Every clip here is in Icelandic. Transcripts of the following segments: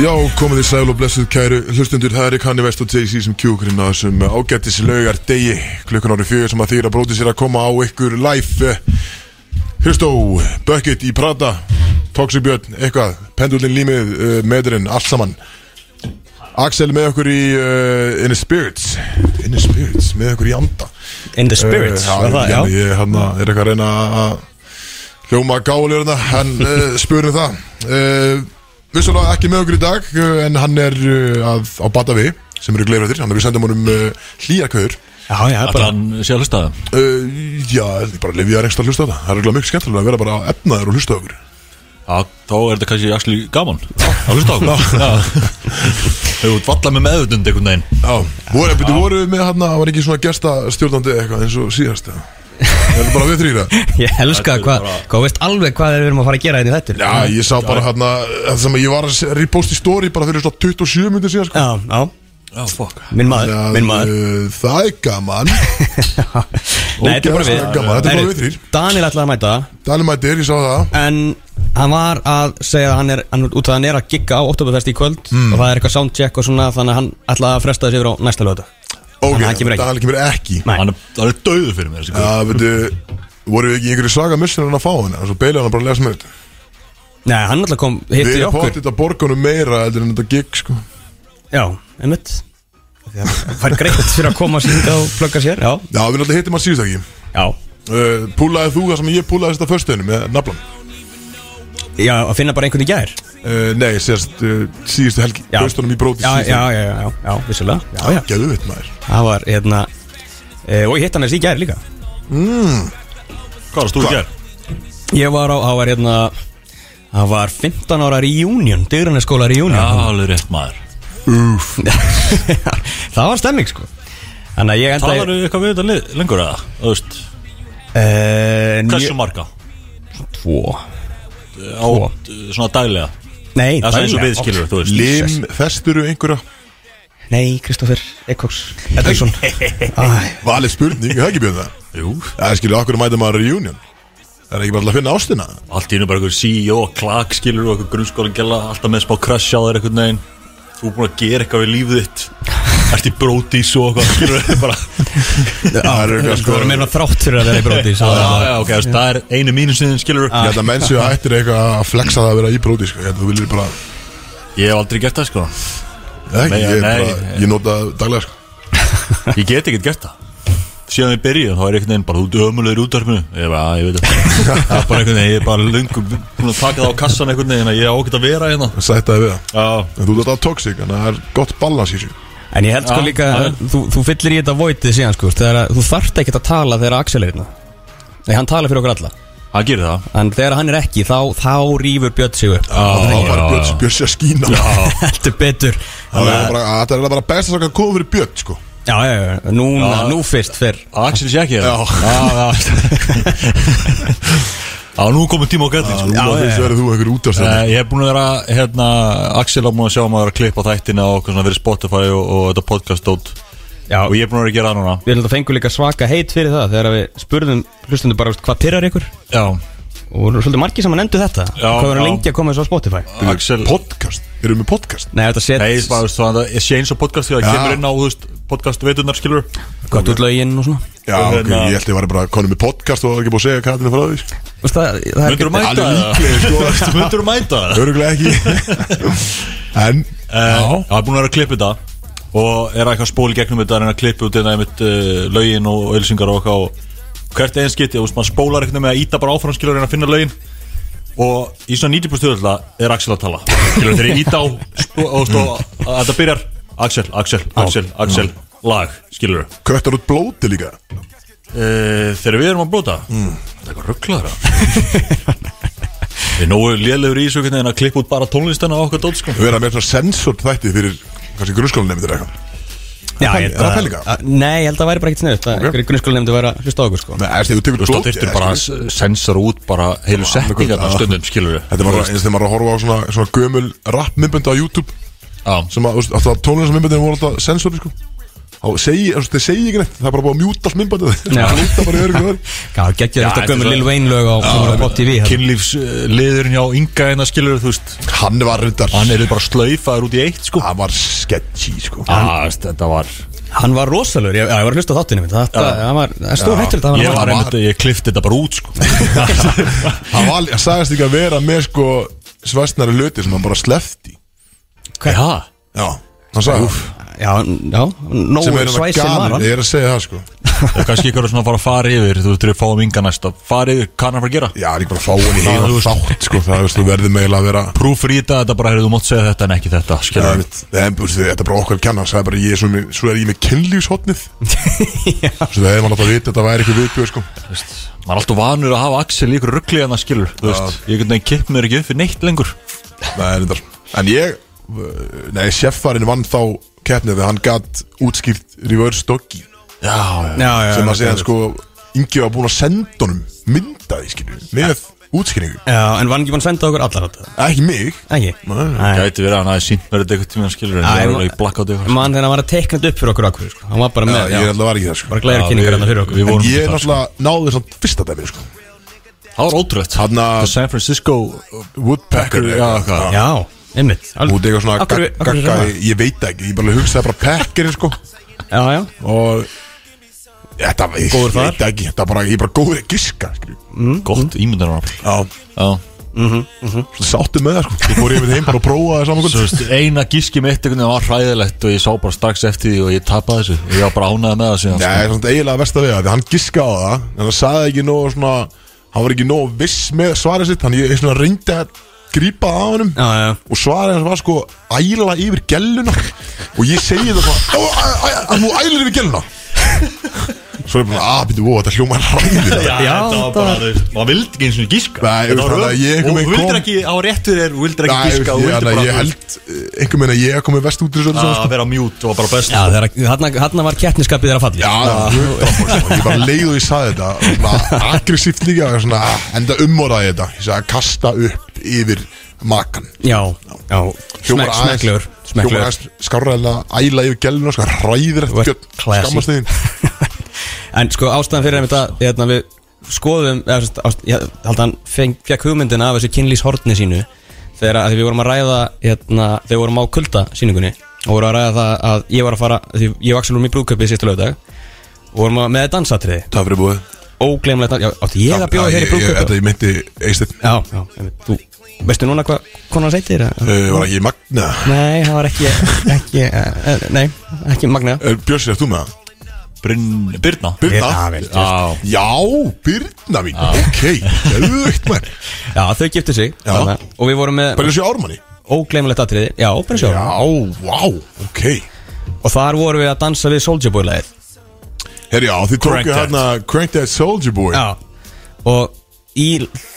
Já, komið þið sæl og blessuð kæru hlustundur, það er ekki hann í vest og Jay-Z sem kjúkurinn að þessum ágættis laugar degi klukkan árið fjögur sem að þýra bróti sér að koma á ykkur live Hristó, Bucket í Prata Toxibjörn, eitthvað Pendulin Límið, uh, Medurinn, allt saman Axel með okkur í uh, In the Spirits In the Spirits, með okkur í anda In the spirits, uh, var það, já, já. já Ég hana, er eitthvað að reyna að hljóma gáleirna en uh, spurum það uh, Vissulega ekki með okkur í dag uh, en hann er uh, að, á Batavi sem eru gleirrættir, hann er við sendum honum uh, hlýjarkauður Já, já, Ætlar bara hann sé að hlusta það uh, Já, er bara lifið að reyngst að hlusta á þetta Það er örugglega mjög skemmtilega að vera bara efnaður og hlusta á okkur Já, þá er þetta kannski axli gaman að hlusta á okkur Já. Þú ert valla með meðutund einhvern veginn Já, voru, byrju, voru við með hann var ekki svona gestastjórnandi eitthvað eins og síðast eða? Það er bara við þrýra Ég elska Þetta er hvað, bara- hvað veist alveg hvað er við erum að fara að gera þetta í þettur Já, ég sá bara hann það sem ég var að repost í story bara fyrir svona 27 myndir síðan sko. Já, já, Já, fuck minn maður, Já, minn maður uh, Það er gaman Nei, þetta er bara við ógeðslega gaman, þetta er bara Heyrðu, við þrír. Daniel ætlaði að mæta Dalimættir, ég sá það En hann var að segja að hann er hann, Út af að hann er að gigga á Oktoberfest í kvöld Mm. Og það er eitthvað soundcheck og svona Þannig að hann ætlaði að fresta þessi yfir á næsta lögata Ok, Þannig að hann kemur ekki. Daniel kemur ekki Nei. Hann er, hann er döðu fyrir mér þessi guð. Það veitu, voru við ekki í einhverju saga missin hann að fá hann Svo beilja hann bara að lesa með þetta Nei, hann alltaf kom hitt í Við erum okkur pottit að borga honum meira Þetta en þetta gig, sko Já, einmitt Það er greitt fyrir að koma sér hingað og plugga sér Já, Já, við náttúrulega hittum hann síðust ekki já uh, Púlaði þú það sem ég púlaði þetta förstöðinu með naflan Já, að finna bara einhvern í gær uh, Nei, sérst uh, síðustu helgi Já. Förstöðunum í bróti Já, já, já, já, já, já vissulega Já, já Gæðu veit maður Það var, hérna e, Og ég hitt hann þessi í gær líka Hvað varst þú í Hva? gerð? Ég var á, það var hérna Það var 15 ára reunion Dyraneskóla reunion Já, alveg rétt maður Úf, Það var stemming sko Þannig að ég enda Talar um- þú eitthvað við þetta lið- lengur eða? Þú veist, Eh, níu- hversu marga? Tvo Á, eh, svona daglega Nei, Það er eins og daglega. við skilur, þú veist lim, festuru einhverja Nei, Kristoffer Ekoks Edvinsson Æ, Valið spurning, það ekki björn það Jú, Það skilur, okkur mæta maður í union Það er ekki bara til að finna ástina allt í hennu bara einhver CEO og klak skilur og einhver grunnskóla alltaf með smá crush á þér einhvern veginn Þú er búin að gera eitthvað við lífið þitt Ert í brótis og eitthvað skilur bara Það er eitthvað, Sko, það er meira þrátt fyrir að vera í bróti Já, já, ok, þess, það Ah. er einu mínusin skilur Ég held að menn séu hættir eitthvað að flexa það að vera í bróti sko. Ég held að þú viljir bara Ég hef aldrei gert það sko Nei, Nei, ég, er nei. bara, ég nota það daglega sko. Ég get ekkert gert það Síðan við byrjuðum, þá er einhvern veginn bara út ömulegur útvarpinu Ég bara, að, ég veit það Það er bara einhvern veginn, ég er bara löngu Búin að taka það á kassan einhvern veginn að Ég á ekkert að vera hérna Sættaði við það Já, En þú ert alltaf toxic, en það er gott ballans í sig En ég held sko Já, líka já, já. þú, þú fyllir í þetta voitið síðan sko Þegar að- þú þarft ekkert að tala þegar Axel er hérna Nei, hann talar fyrir okkur alla hann gerir það En þegar hann er ekki, þá, þá rýfur Björn sig upp Og Þá já, fara já. Björns Björns sé að skína Það Heldur betur er Þannig að- bara- Það er bara besta sem kann koma fyrir Björn sko. Já, já, já, núna, Já. nú fyrst fyrr Axel sé ekki það Já, já Já, Eh, nú komum tíma á gæti Þú að fyrst verður þú einhver útastæð Ég hef búin að vera, hérna Axel á búin að sjá um að vera að klippa þættina og okkur svona fyrir Spotify og, og þetta podcast dót Já, og ég er búin að vera að gera það núna Við heldum að fengu líka svaka heit fyrir það þegar við spurðum hlustundu bara veist, hvað pyrrar ykkur Já, og voru svolítið margir sem að nefndu þetta Já, hvað verður já. lengi að koma þessu á Spotify Axel Podcast, erum við með podcast? Nei, þetta set, Nei, ég bara, þú veist, þannig að ég sé eins og podcast þegar Já. það kemur inn á, þú veist, podcast veiturnar skilur gott út lögin og svona Já, ok, Hérna- ég held ég var bara konum með podcast og það var ekki búið að segja Katina frá því sko. Vist, það, það er Möndur að ekki- mæta Alveg það? líklegir, sko. Veistu, Myndirðu mæta það? Öruglega ekki En, Eh, Já, er búin að vera að klippa þetta og er eitthvað spól í gegnum þetta en að klippa út þetta einmitt uh, lögin og ölsingar og eitthvað og hvert einn skiti, þú veist, maður spólar eitthvað með að íta bara áfram skilur en að finna lögin og í svona 90% stöðla er Axel að tala skilur þegar ég íta á spó, sko, og stó, að þetta byrjar Axel, Axel, Axel, Axel, lag skilur köttar út blóti líka uh, Þegar við erum að blóta Það er eitthvað rugglaður Við erum nógu lélegur í þessu einhvern veginn að klippa út bara tónlistana á okkar dót sko. Við erum með svona sensort þætti fyrir kannski grunnskólanemndir eitthvað Já, ég Er held það að- pælinga? að- Nei, ég held að það væri bara ekkert sniðut að einhverju grunnskóla nefndi að vera að hlusta á okkur sko Nei, eftir, þú tekur Þú veist, þá blótið, þurftir eða bara skilur. að sensa út bara heilu settingar annað- stundum, skilur við Þetta var bara eins og þegar maður er að horfa á svona, svona gömul rappmyndbönda á YouTube Já, sem að, þú veist, alltaf tónlistarmyndböndin voru alltaf sensori, sko og segi, þú veist, þeir segi ekki neitt það er bara búið að mjúta allt minnbandið Já. það lúta bara í örgum Já, geggjur Já, þetta þetta er gömur svo- Lil Wayne lög á komur á Pop TV hérna. Kynlífsliðurinn hjá Inga en það skilur þú veist hann var reyndar Hann er bara slaufaður út í eitt sko hann var sketchy sko ah, Þetta var Hann var rosalur, ég, já, ég var að hlusta á þáttinu minn Þetta Já. hann var, það er stór hættur þetta Ég hann var var einmitt, ég klifti þetta bara út sko Já, hann var, hann sagðist ekki að vera með sko svæstnari löti sem hann bara slefti já hann sagði Úf, Já, já, sem nógu er hann svæsin var galin hann ég er að segja það sko það er kannski ykkur svona að fara að fara yfir Þú þurfir að fá um Inga næsta Fara yfir, hvað er hann að fara að gera? já, hann er ekki bara að fá hann í Já, þú heila veist. þátt sko það veist, þú verður meila að vera Prúfrýta þetta bara, heyrðu, þú mátt segja þetta en ekki þetta Já, Skilur einmitt. Nei, en, þú veist, þetta er bara okkar að kenna hann sagði bara ég er svo, með- svo er ég með kynlífshotnið svo það hefði maður alltaf vita að þetta væri eitthvað viðbjörn sko Þú veist, maður er alltaf vanur að hafa Axel í ykkur ruggli en það skilur, þú veist, ég einhvern veginn kipp mér ekki upp fyrir neitt lengur Nei, reyndar. En ég, uh, nei, sjeffarinn vann þá keppnið þegar hann gatt útskýrt reverse doggy Já, Já, já, sem að já, segja sko, Ingi var búin að senda honum myndaði, skilju, með útskýringu já, en var hann ekki búinn að senda okkur allar þetta? Ekki mig Ekki? Nei, Gæti verið að hann hafi sínt mér þetta eitthvað tíma skilur en Æ, það er ma- alveg blakkað ykkur mann þegar hann var að teikna þetta upp fyrir okkur akkur sko. Hann var bara Já, með, Ég já, er alltaf var ekki það, sko bara glæður Já, kynningar við- hérna fyrir okkur við vorum- En ég ekki er þar, náttúrulega náður samt fyrsta dæmið, sko Það var ótrúlegt Hanna The San Francisco Woodpecker Já, eða hvað? eitthvað. Já, einmitt alveg- Út eitthvað svona Af hverju- af hverju gagga sem Ég veit ekki, ég bara hugsaði bara pekkerinn, sko það? Já, já, Og Þetta, ég Góður Mm. ég þar? veit ekki Þetta bara, ég er bara góður að giska, skilju Gott mm. ímyndanarafl Já Já Sáttu með það, sko Ég fór yfir þeim bara að prófa það saman sko. Svo veist, eina gíski mitt einhvern veginn var hræðilegt og ég sá bara strax eftir því og ég tapaði þessu Ég var bara ánæði með það síðan Nei, það er svona eiginlega verst að vega Þegar hann giskaði á það En hann saði ekki nóg svona Hann var ekki nóg viss með svarið sitt Hann ég, ég svona reyndi að grípa á honum já, já Og svarið hans var sko Æla yfir gelluna Og ég segi það svona "Ó, æ, æ, æ, Þú ælir yfir gelluna Svo er ég bara að byrja Ó, þetta hljóma ræðilega Já, þetta var- þú veist, maður vildi ekki eins og gíska Nei, ég Þetta veist var það, röð- ég einhvern Og veginn þú vildir kom- ekki, á réttur er, þú vildir Nei, ekki ég, gíska og ég, vildir ég, bara ég þú veist, held eh, Einhver meina ég hef komið vest út í þessu öllu saman, sko. að vera mjút og bara best Já, þegar hann, hann var kettniskapið þeirra falli Já, 100%. sko. ég bara leið og ég saði þetta svona aggressíft líka svona, "Ah, enda umorðaði þetta ég sagði að kasta upp yfir makan já, já. Smekk, smekklegur Hljómar Smekklegur aðeins skárraðilega æla yfir gæluna sko, ræðir Þú ert eftir gjöld classy. skammastegin En sko ástæðan fyrir einmitt að hérna, við skoðum eða, sem sagt, ást, ég held að hann feng, fekk hugmyndina af þessu kynlíshorni sínu þegar að því við vorum að ræða hérna, þegar við vorum á kulda síningunni og vorum að ræða það að ég var að fara því ég var axelum í brúðköpið sýstu lögdag og vorum að, með dansatriði Það fyrir búið ógleimlegt já, átti ég að bjóða hér í brúðköpið Þetta ég myndi eistir Já, já, einmitt. þú veistu núna hvað konan seitir? Uh, Það Eh, var ekki magna nei, það var ekki, ekki uh, nei, ekki Magna Björsi, Eh, ert þú með það? Bryn- Birna Birna, Birna? vel. Já, Já, Birna mín, ok Gauðveikt maður Já, þau giftu sig Já. þarna, og við vorum með Bara eins og í ármanni ógleimlegt atriði Já, bara sjá Já, vá, ok Og þar vorum við að dansa við Soulja Boy lagið Herri, já, þið Crank tókuð that. hérna Crank That Soldier Boy Já Og í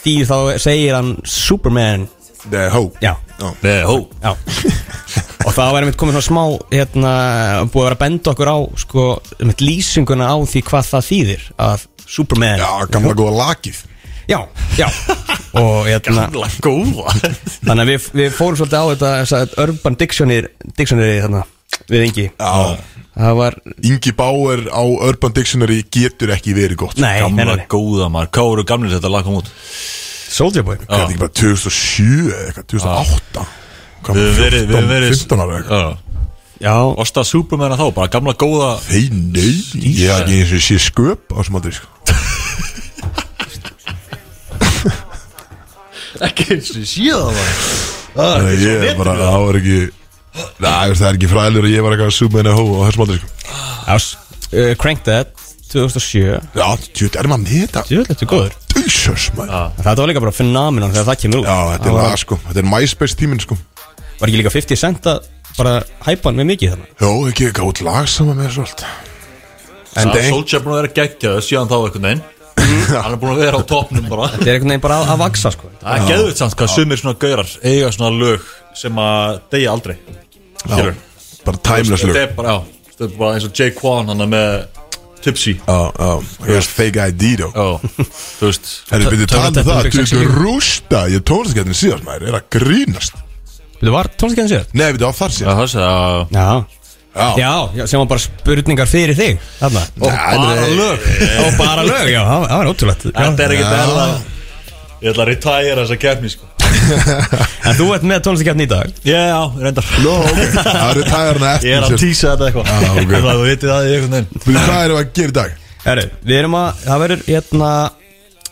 því þá segir hann Superman The Ho Já, Nei, hó já Og þá er einmitt komið svona smá hérna, Búið að vera að benda okkur á sko, einmitt Lýsinguna á því hvað það þýðir Að Superman Já, gamla góða lakið já, já. Og hérna Gamla góða Þannig að við, við fórum svolítið á þetta þessa Urban Dictionary, Dictionary þarna, Við engi Já Það var, Ingi Bauer á Urban Dictionary getur ekki verið gott nei, nei, Gamla nei, nei. góða maður Hvað voru gamlir þetta lag kom út? Soulja Boy Þetta er ekki bara 2007 eða eitthvað, 2008 Hvað Við höfum var verið- við höfum 14, verið- 15 ára eitthvað Já Já, Osta Superman að þá, bara gamla góða Hei, nei, ég hef ekki eins og sé sköp á sem aldrei sko Ekki eins og síða það Nei, Ég er bara, það var ekki Nei, það er ekki fræðilegur að ég var eitthvað að súma henni að hóa á þessum aldrei sko Já, s- uh, Crank That 2007 Já, tjótt, er maður með þetta? Jú, þetta er góður Jesus, maður Þetta var líka bara fenómenon þegar það kemur út Já, þetta Það er var, það sko, þetta er MySpace tíminn sko var ekki líka 50 cent að bara hæpa hann með mikið þannig Jó, ekki eitthvað út lag saman með þessu allt En það Solskjaer búin að vera geggjaðu síðan þá einhvern veginn Hann er búin að vera á topnum bara Þetta er einhvern veginn bara að, að vaksa sko Það er geðvitt samt hvað sumir svona gaurar eiga svona lög sem að deyja aldrei Skilur bara timeless lög Þetta er bara, já Þetta er bara eins og Jake Kwan hann er með Tipsy Já, já, það er fake ID þá Já, þú veist Herri, byrju, talaðu Tölvutætt það, Olympic þú sexy ert league. rústa Ég tónlistakettin síðast maður, er að grínast Þetta var tónlistkjæðin sér Nei, við það var þar Já, síðast það sé að Já Já, Já, já, sem var bara spurningar fyrir þig Þarna Og uh, Nei, bara nei. lög Og bara lög, já, það það var ótrúlegt Þetta já. er ekkert Já. verða Ég ætla að retire þessa keppni sko En þú ert með tónlistikefni í dag Já, já, reyndar Nó, ok, það eru tæðarna Ég eftir er að sér tísa þetta eitthvað Já, ok. Það þú vitið það í einhvern veginn Bíddu, Hvað erum við að gera í dag? Herru, við erum að, það verður hérna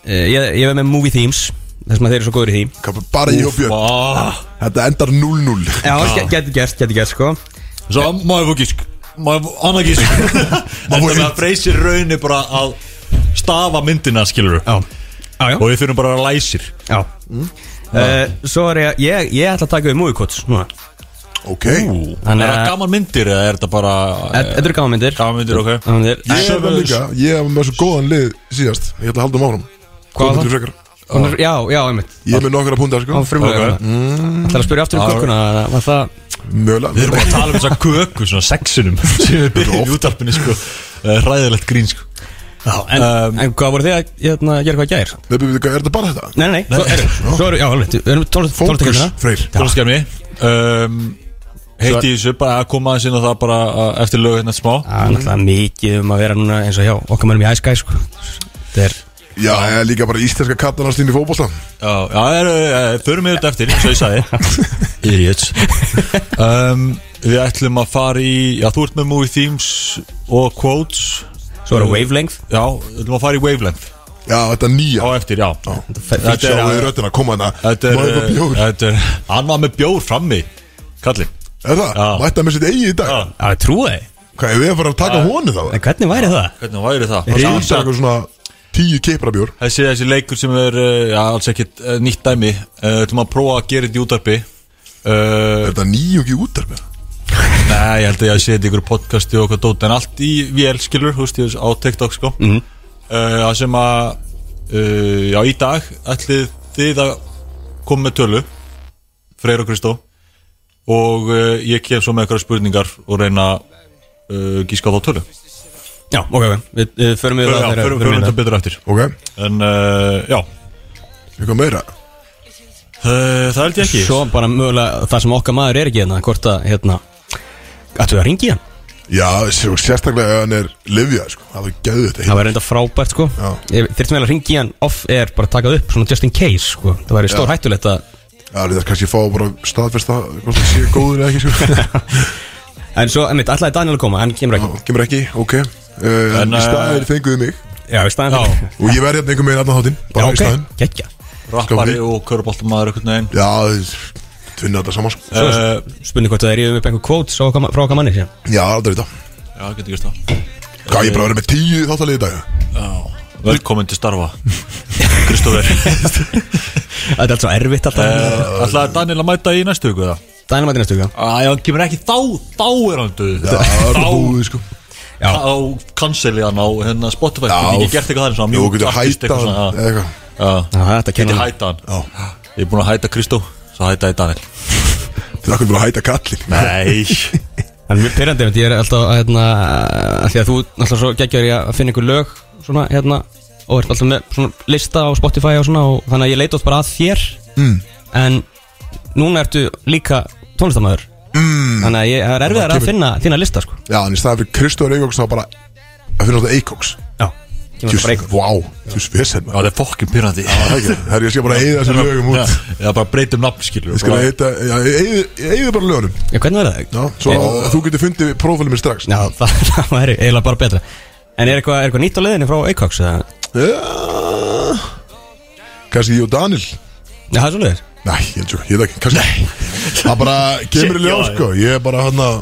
eh, Ég, ég verð með movie themes Þess að þeir eru svo góður í því Hvað- Bara ég og Björn, Vá. þetta endar 0-0 Já, ge- geti gert, geti gert, sko Svo maður fór gísk Maður fór annað gísk Þetta fór með hint. að breysi raunni bara að stafa myndina skilur Já, já, já, Og við þurfum bara að vera læsir já. Eh, Svo er ég, ég, ég ætla að taka við movie quotes núna Ok, Þannig Er það að- gaman myndir eða er þetta bara Þetta þetta eru gaman myndir Gaman myndir, ok. Gaman myndir ég er með líka, ég er með svo góðan lið síðast Ég ætla að halda um áfram Hvað myndir var þú frekar? Hún er- Já, já, einmitt Ég er með nokkara púnta, Á sko frumlega Ok. Það er að spyrja aftur um Já. kökuna eða Var það Við erum Mögulega bara að tala um þessa köku Svona sexinum Sem við byrjum í útarpinu sko Eh, Hræðilegt grín sko Um, En, en hvað voru þið að hérna, gera hvað gær? Nei, bíddu, hvað, Er þetta bara þetta? Nei, nei, nei, svo erum við, svo erum við, já, alveg, við erum Fókus, tólftekjöfnina Freyr Tónlistkjæmi um, Heitti í þessu bara að koma aðeins inn á það bara uh, eftir lög hérna smá Það er náttúrulega mikið um að vera núna eins og hjá okkar mönnum í æskæ, sko Þetta er, Já, ég er líka bara íslenska katalastinn í fótbolta Já, já er, er, förum við þetta eftir, eins og ég sagði Idiots um, Við ætlum að fara í, já þú ert með movie themes og quotes svo er wavelength Já, við ætlum að fara í wavelength Já, þetta er nýja á eftir, já Þetta er Þetta Sjáðu er, röddina, koma hana þetta er, eh, Má ég fá bjór? þetta er Hann var með bjór frammi, kallinn Er það? Já. Mætta með sitt eigi í dag Já. Já, ég trúi þið, Hvað, er við að fara að taka honu þá? en hvernig væri það? Hvernig væri það? Það er Samt- alltaf eitthvað svona tíu keprabjór Þessi, þessi leikur sem er uh, já, alls ekkit uh, nýtt dæmi uh, ætlum að prófa að gera þetta í útarpi uh, Er þetta nýjungi útarpið? Nei, ég held að ég sé þetta í ykkur podcasti og okkur dót en allt í VL skilur, húst ég á TikTok sko mm -hmm. uh, sem að uh, já, í dag ætlið þið að koma með tölu Freyr og Kristó og uh, ég kem svo með eitthvað spurningar og reyna uh, gíska á þá tölu Já, ok, ok, við, við förum við hérna. Já, förum förum þetta betur eftir Ok, en uh, já, eitthvað meira uh, það held ég ekki Svo bara mögulega það sem okkar maður er ekki hérna, hvort að, hérna Ættu að ringi hann? Já, sér- sérstaklega ef hann er livja sko. Það var gæðu þetta Það væri enda frábært, sko Já. Þyrftum vel að ringi hann off air, bara takað upp, svona just in case, sko Það væri stór hættulegt að Já, þetta er kannski að fá bara staðfesta Hvort það sé góður eða ekki sko. En svo, einmitt, alltaf Daniel að koma, hann kemur Já, ekki Kemur ekki, ok uh, En, Í staðin eh, fenguðu mig Já, í staðan Já. fyrir Og ég verði hérna einhver meginn allan þáttinn Bara í staðin Kekja Rappari og köruboltamaður einhvern veginn Já, þið- tvinna þetta saman sko. Svo er spurning hvort það er yfir upp einhver kvót frá okkar frá okkar manni síðan Já, aldrei þetta Eh, Já, getur gert það Hvað, ég bara verið með tíu þáttalegi í dag Velkomin til starfa Kristófer Þetta er allt svo erfitt Eh. alltaf Alltaf er Daniel að mæta í næstu viku það Dænamæti næstu vika Æ, hann kemur ekki þá, þá er hann döð Já, það er bara búið sko Þá canceli hann á hérna Spotify Já. Þú getur ekki gert eitthvað þar eins og hann Jú, mute getur artist, hætta eitthvað hann svona, eða eitthvað Já, Já, þetta getur kemur hætta hann Já, Ég er búin að hætta Kristó Svo hætta ég Daniel þið er akkur bara að hæta kallin Nei En mjög pyrrandi, ég er alltaf að, hérna að Því að þú alltaf svo geggjör ég að finna einhver lög Svona, hérna Og ert alltaf með svona lista á Spotify og svona og Þannig að ég leita oft bara að þér mm. En núna ertu líka tónlistamæður mm. Þannig að ég það er erfiðar að kemur- finna þína lista, sko Já, en í staðan fyrir Kristóður Eikóks þá bara að finna þetta Eikóks Já Kemur það bara einhver Vá, þú svesen Já, það er fokkin pyrrandi Já, Það er ég skal bara eigið þessum lögum út Ég Já, bara breytum nafn skilur skal bara- heita, já, eigið bara lögunum Já, hvernig verður það? Já, svo að þú getur fundið prófælum minn strax Já, Já, það, það væri eiginlega bara betra En er eitthvað, er eitthvað nýtt á leiðinni frá Eikoks? eða? kannski ég og Daniel Já, það er svolítið Nei, ég held ekki, ég held ekki, kannski Það bara kemur í ljós, Já, já. sko Ég er bara hann að,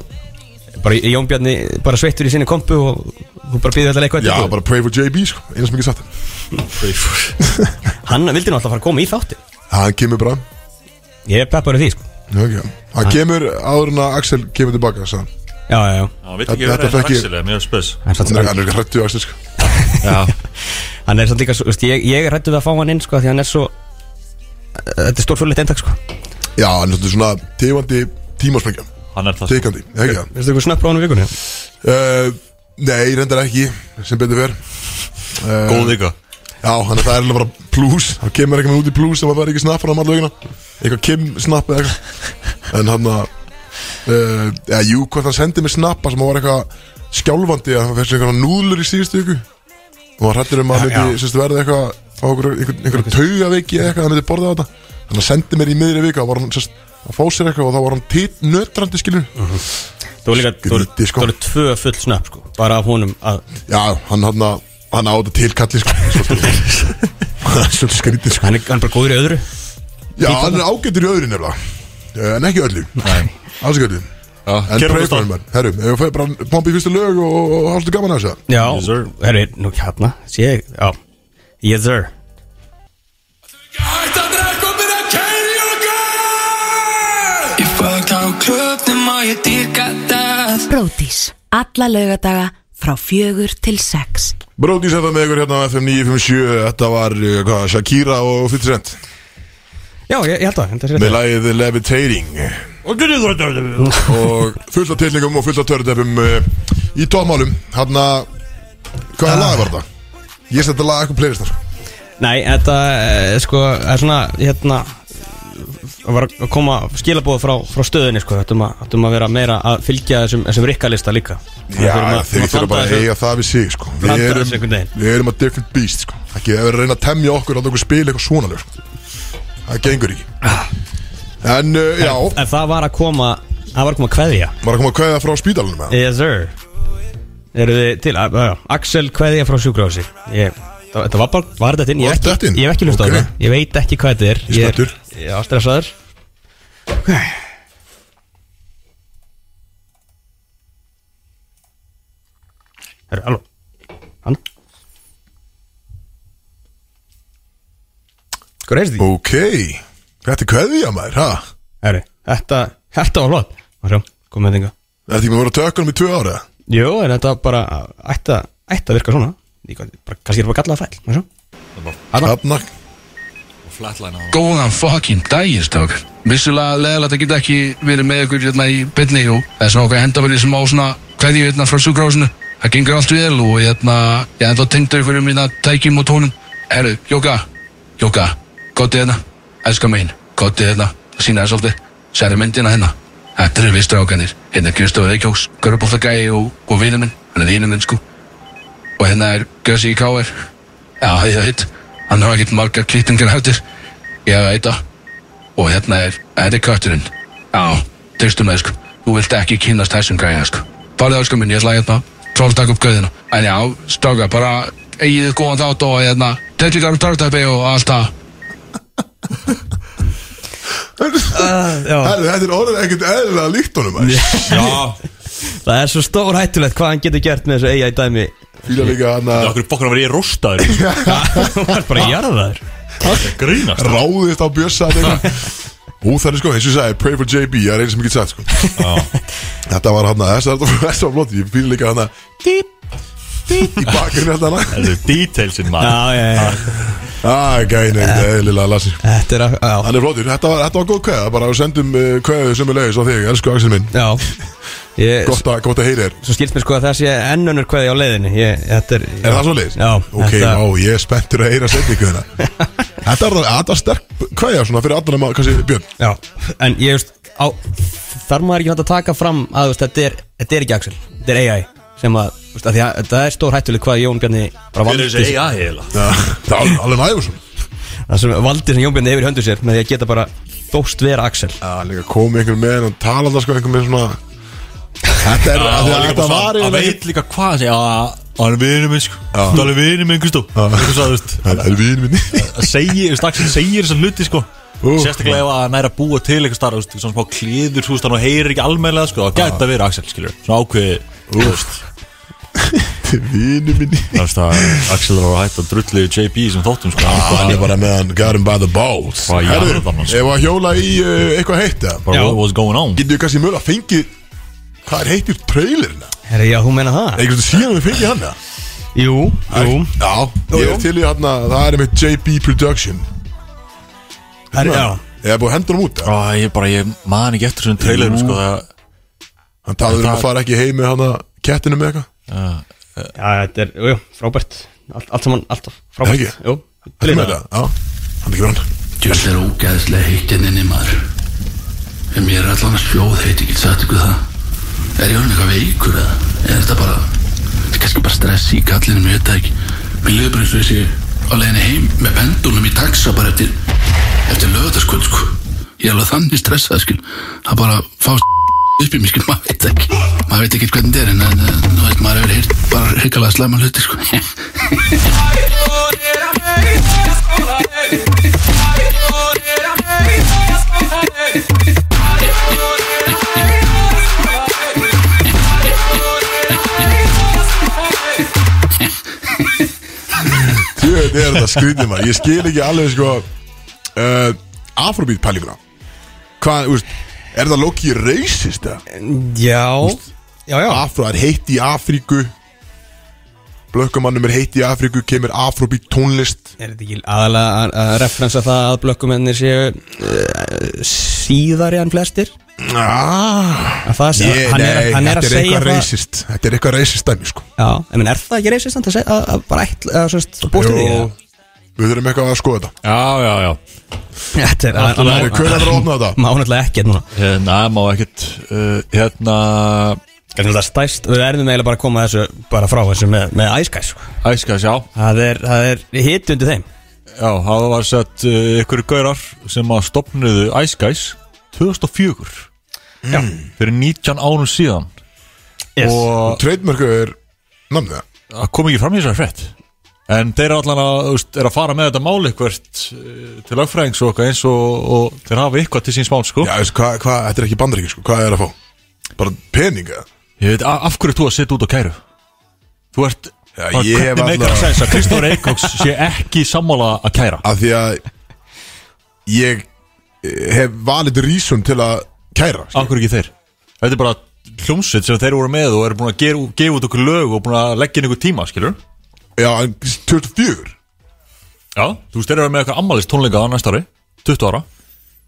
Bara J- Jón Bjarni bara sveittur í sinni kompu og hún bara býður alltaf eitthvað já, eftir. bara pray for JB, sko Einu sem ekki sagt það Hann vildi nú alltaf fara að koma í þátti Hann kemur bara, Ég er peppar í því, sko já, ok Hann kemur áður en að Axel kemur tilbaka, sagði hann Já, já, já Já, vill ekki Þetta- vera þetta einn fekk ég- Axel eða Mér er spes Hann, samt, Hann er- hann, Hann er hrættu Axel, sko Já hann er samt líka, svo- veist, ég, ég er rættu við að fá hann inn, sko Því hann er svo Þetta er stórfjörleitt endak, sko Já, hann er svolítið svona tifandi tímasprengja Hann er það sko. Teikandi, ekki það Veistu eitthvað snöpp frá hann í vikunni? Uh, nei, reyndar ekki sem betur fer uh, Góð vika Já, þannig að það er alveg bara plus Það kemur ekki með út í plus ef það er ekki snapp frá maður lögina Eitthvað kim snapp eða eitthvað En hann að uh, eða, Jú, hvort hann sendi mér snappa sem var eitthvað skjálfandi að hann fyrst eitthvað núðlur í síðustu viku og hann hrættur um að hann Já, já. myndi sérst, verði eitthvað á einhver, einhver, einhver taugaveiki eða eitthvað að hann myndi borða á þetta þannig að hann sendi mér í miðri vika og var hann sérst, að fá sér eitthvað og þá var hann tít nötrandi skilur Mm. Þú var líka, þú voru- Skrítið, sko. þú voru tvö full snöpp sko Bara af honum að Já, hann hann að hann á þetta til kalli sko Svolítið- Svolítið skrítið sko Hann er, hann er bara góður í öðru Já, hann er ágættur í öðru nefnilega Eh, En ekki öllu Alls ekki öllu En Gerum við pröfum hann Herru, ef við fæðum bara pompa í fyrstu lög og, og, og hálfstu gaman að þessu Já, Yes, sir. herri, nú hérna Sé ég, já Yes sir Hætt að drekka og byrja að keiri okkar Ég fucked á klubnum og ég dýrka það Brótis. Alla laugadaga frá fjögur til sex. Bróti setja með ykkur hérna á FM 957 Þetta var eh, hvað, Shakira og 50 Cent Já, ég, ég held að, held að sér Með lagið Levitating Og fullt af tillingum og fullt af törðdefum Í tómálum Hanna, hvaða lag var þetta? Ég setja lag eitthvað playlistar Nei, þetta, eh, sko, það er svona, hérna Það var að koma skilabóð frá, frá stöðinni, sko Þetta um að, þetta um að vera meira að fylgja þessum, þessum rikkalista líka Já, þeir þurfa bara að eiga það við sig sko. við, blanda erum, þessu einhvern veginn. við erum að different beast sko. ekki að vera að reyna að temja okkur að okkur spila eitthvað svona lög, sko. það gengur ekki en uh, já, En það var að koma, það var að koma kveðja maður að koma að kveða frá spítalunum eða? Yes sir Eru þið til, að, að, Axel kveðja frá sjúkrási Ég, það- þetta var bara, var þetta inn? Ég hef Var ekki- þetta inn? Ég hef ekki hlustað á Ok. það, ég veit ekki hvað þetta er Ég er- spenntur. Ég er stressaður Herru, alveg Hann Hvað er þetta? ok, þetta er kveðja maður ha? Herru, þetta, þetta var hlott Má sjá, komum við þingar þetta er ekki með voru tökunum í tvö ára eða? Jú, en þetta bara ætti að- ætti að virka svona Ég gæti- bara- Kannski er bara gallað fæl má sjá. þarna, Góðan fucking daginn, stokk. Vissulega leðilegt að geta ekki verið með ykkur hérna í bytni og það er svona okkur að henda verið sem á svona hverju hérna frá sjúkrásinu. Það gengur allt vel og hérna, ég er enda tengdur ykkur um mína tækjum og tónum. Herru, Jóka, Jóka, gott í hérna, elska mín, gott í hérna, sína þér svolítið, særi myndina hérna. Þetta eru við strákanir, hérna Kristof Eikjóks, Görbóltagæi og, og vinur minn, hann er vinur minn sko. Og hérna er Gössi í Káir, Já, ég veit, hann hafa ekkert margar klýtingar hættir. Ég veit það. Og hérna er, þetta er kötturinn. Já, tristum það, sko. Þú vilt ekki kynast þessum gæðina, sko. Farðið á, sko, minn, ég ætla að hérna, tróð takk upp gauðina. En já, stráka, bara eigið þið góðan þátt og hérna, teknikar um tartæpi og allt það. herru, þetta er orðin ekkert eðlilega líkt honum maður. Það er svo stór hættulegt hvað hann getur gert með þessu eiga í dæmi fíla líka hann að Okkur bóknar var ég rostaður Hann var bara jarðaður Grínast ráðist á bjössa Úþæri sko, eins og ég sagði, pray for JB Það er eins sem ég get sagt sko Þetta var hann að, þess að þetta var flott Ég fýl líka hann að Dýp, dýp Í bakgrunni alltaf hann Þetta er detailsinn maður Já, já, já Æ, gæni, eðlilega lasi Ah, Þetta er að, já, Hann er flottur, þetta var, þetta var góð kveða Bara við sendum uh, kveðu sem er leiðis á þig, elsku Axel minn já ég, Gott að, gott að heyri þér Svo skilst mér sko að það sé ennunur kveði á leiðinni ég, Þetta er Er það svo leiðis? Já, Ok, þetta- já, ég er spenntur að heyra setningu hérna Þetta var, þetta var sterk kveða svona fyrir allan að, kannski, Björn Já, en ég veist á, Þar maður ekki hægt að taka fram að þú veist, þetta, er, þetta er ekki Axel, þetta er AI sem að, þú veist, að því að þetta er stór hættulegt hvað Jón Bjarni bara Hver er valdi þessi AI heila? Það var alveg nægur svona það sem valdi sem Jón Bjarni hefur í höndu sér með því að geta bara þóst vera Axel Já, líka komið einhver með og talanda sko einhver með svona Þetta er, af því að þetta var Hann eiginlega- veit líka hvað hann segja Hann er vinur minn sko Það er vinur minn Kristó Eitthvað svo, þú veist, Það er vín minni að segja Staxin segir þessar hluti sko Ú. Sérstaklega ef að hann er að búa til eitthvað starf Svona smá klíður Þú veist hann og heyrir ekki almennilega sko Það gæti að vera Axel skilur Svona ákveði Þú veist Vín minni Þú veist að Axel var að hætta að drullu JB sem þóttum sko Hann er bara með hann got him by the balls Hvað í Herðu, andanum, sko? Ef að hjóla í uh, eitthvað heitt eða Bara Já. what was going on Getur við kannski mjög að fengi Hvað er heitt í trailerina? Herra, já, hún meina það? Eitthvað síðan við fengi hann eða? Jú, jú Já, ég er til í hann að það er með JB Production Herra, já Ég er búið að henda hann út eða? Á, Ég bara, ég man ekki eftir svona trailerum sko Það Hann talaður um Það- að fara ekki heim með hann að kettinu með eitthvað Já, þetta er, jú, jú, frábært Allt, allt saman, allt Er frábært ekki? Jú, Þetta til í með það þetta? Já, hann er ekki verið hann Djöld er ógæðslega heittinninni maður En mér er allan að sljóð heit, ég get sagt ykkur það Er ég orðin eitthvað veikur eða? Er þetta bara, þetta er kannski bara stress í kallinu, mér veit það ekki Mér liður bara eins og þessi á leiðinni heim með pendulum í taxa bara eftir Eftir lögðarskvöld, sko Ég er alveg þannig stressað, skil Það bara fá upp í mér, skil, maður veit það ekki Maður veit ekki hvernig þetta er, en, en, en þú veit, maður hefur heyrt bara hrikalega slæma hluti, sko Jöfn er þetta skrýtið maður Ég skil ekki alveg sko uh, Afrobeat pælinguna Hvað, þú veist Er það Loki racist eða? Já Já, já Afro það er heitt í Afríku Blökkumannum er heitt í Afríku Kemur Afrobeat tónlist Er þetta ekki aðalega að- að referensa það að blökkumennir séu uh, síðari en flestir? ah, Að það sé, ég, hann, er, Nei, hann er þetta að er segja eitthvað það racist Þetta er eitthvað racist dæmi sko Já, en menn, er það ekki reisist að, að, að bara ætla, að, svist, búst Jú, við því? eða? Við þurfum eitthvað að skoða þetta Já, já, já Þetta er að, Herri, að, Hver er það að opna þetta? má náttúrulega ekki núna Hérna, má ekkert uh, Hérna Þannig að það stæst, við erum eiginlega bara að koma þessu bara frá þessu með, með æskæs sko. Æskæs, já Það er, það er hiti undir þeim Já, það var sett uh, ykkur gaurar sem að stopnuðu Ice Guys 2004 Já Fyrir 19 árum síðan Og Trademark er Namnið það það kom ekki fram í þessar frétt En þeir eru allan að, þú veist, er að fara með þetta mál eitthvert eh, til lagfræðings og eitthvað eins og, og þeir hafa eitthvað til síns mál, sko. Já, veist, hvað, hvað, þetta er ekki bandaríki sko Hvað er að fá? Bara peninga Ég veit, a- af hverju ert þú að setja út á kæru? Þú ert, Já, ég hef hvernig meikar allavega- að segja þess að Kristóður Eikóks sé ekki sammála að kæra? Af því að Ég hef valið rísun til að kæra sko. skilur. Af hverju ekki þeir? Þetta er bara hljómsveit sem þeir voru með og eru búin að gera, gefa út okkur lög og búin að leggja inn ykkur tíma, skilur? Já, en 24 Já, þú veist, þeir eru með eitthvað ammalist tónleika á næsta ári, 20 ára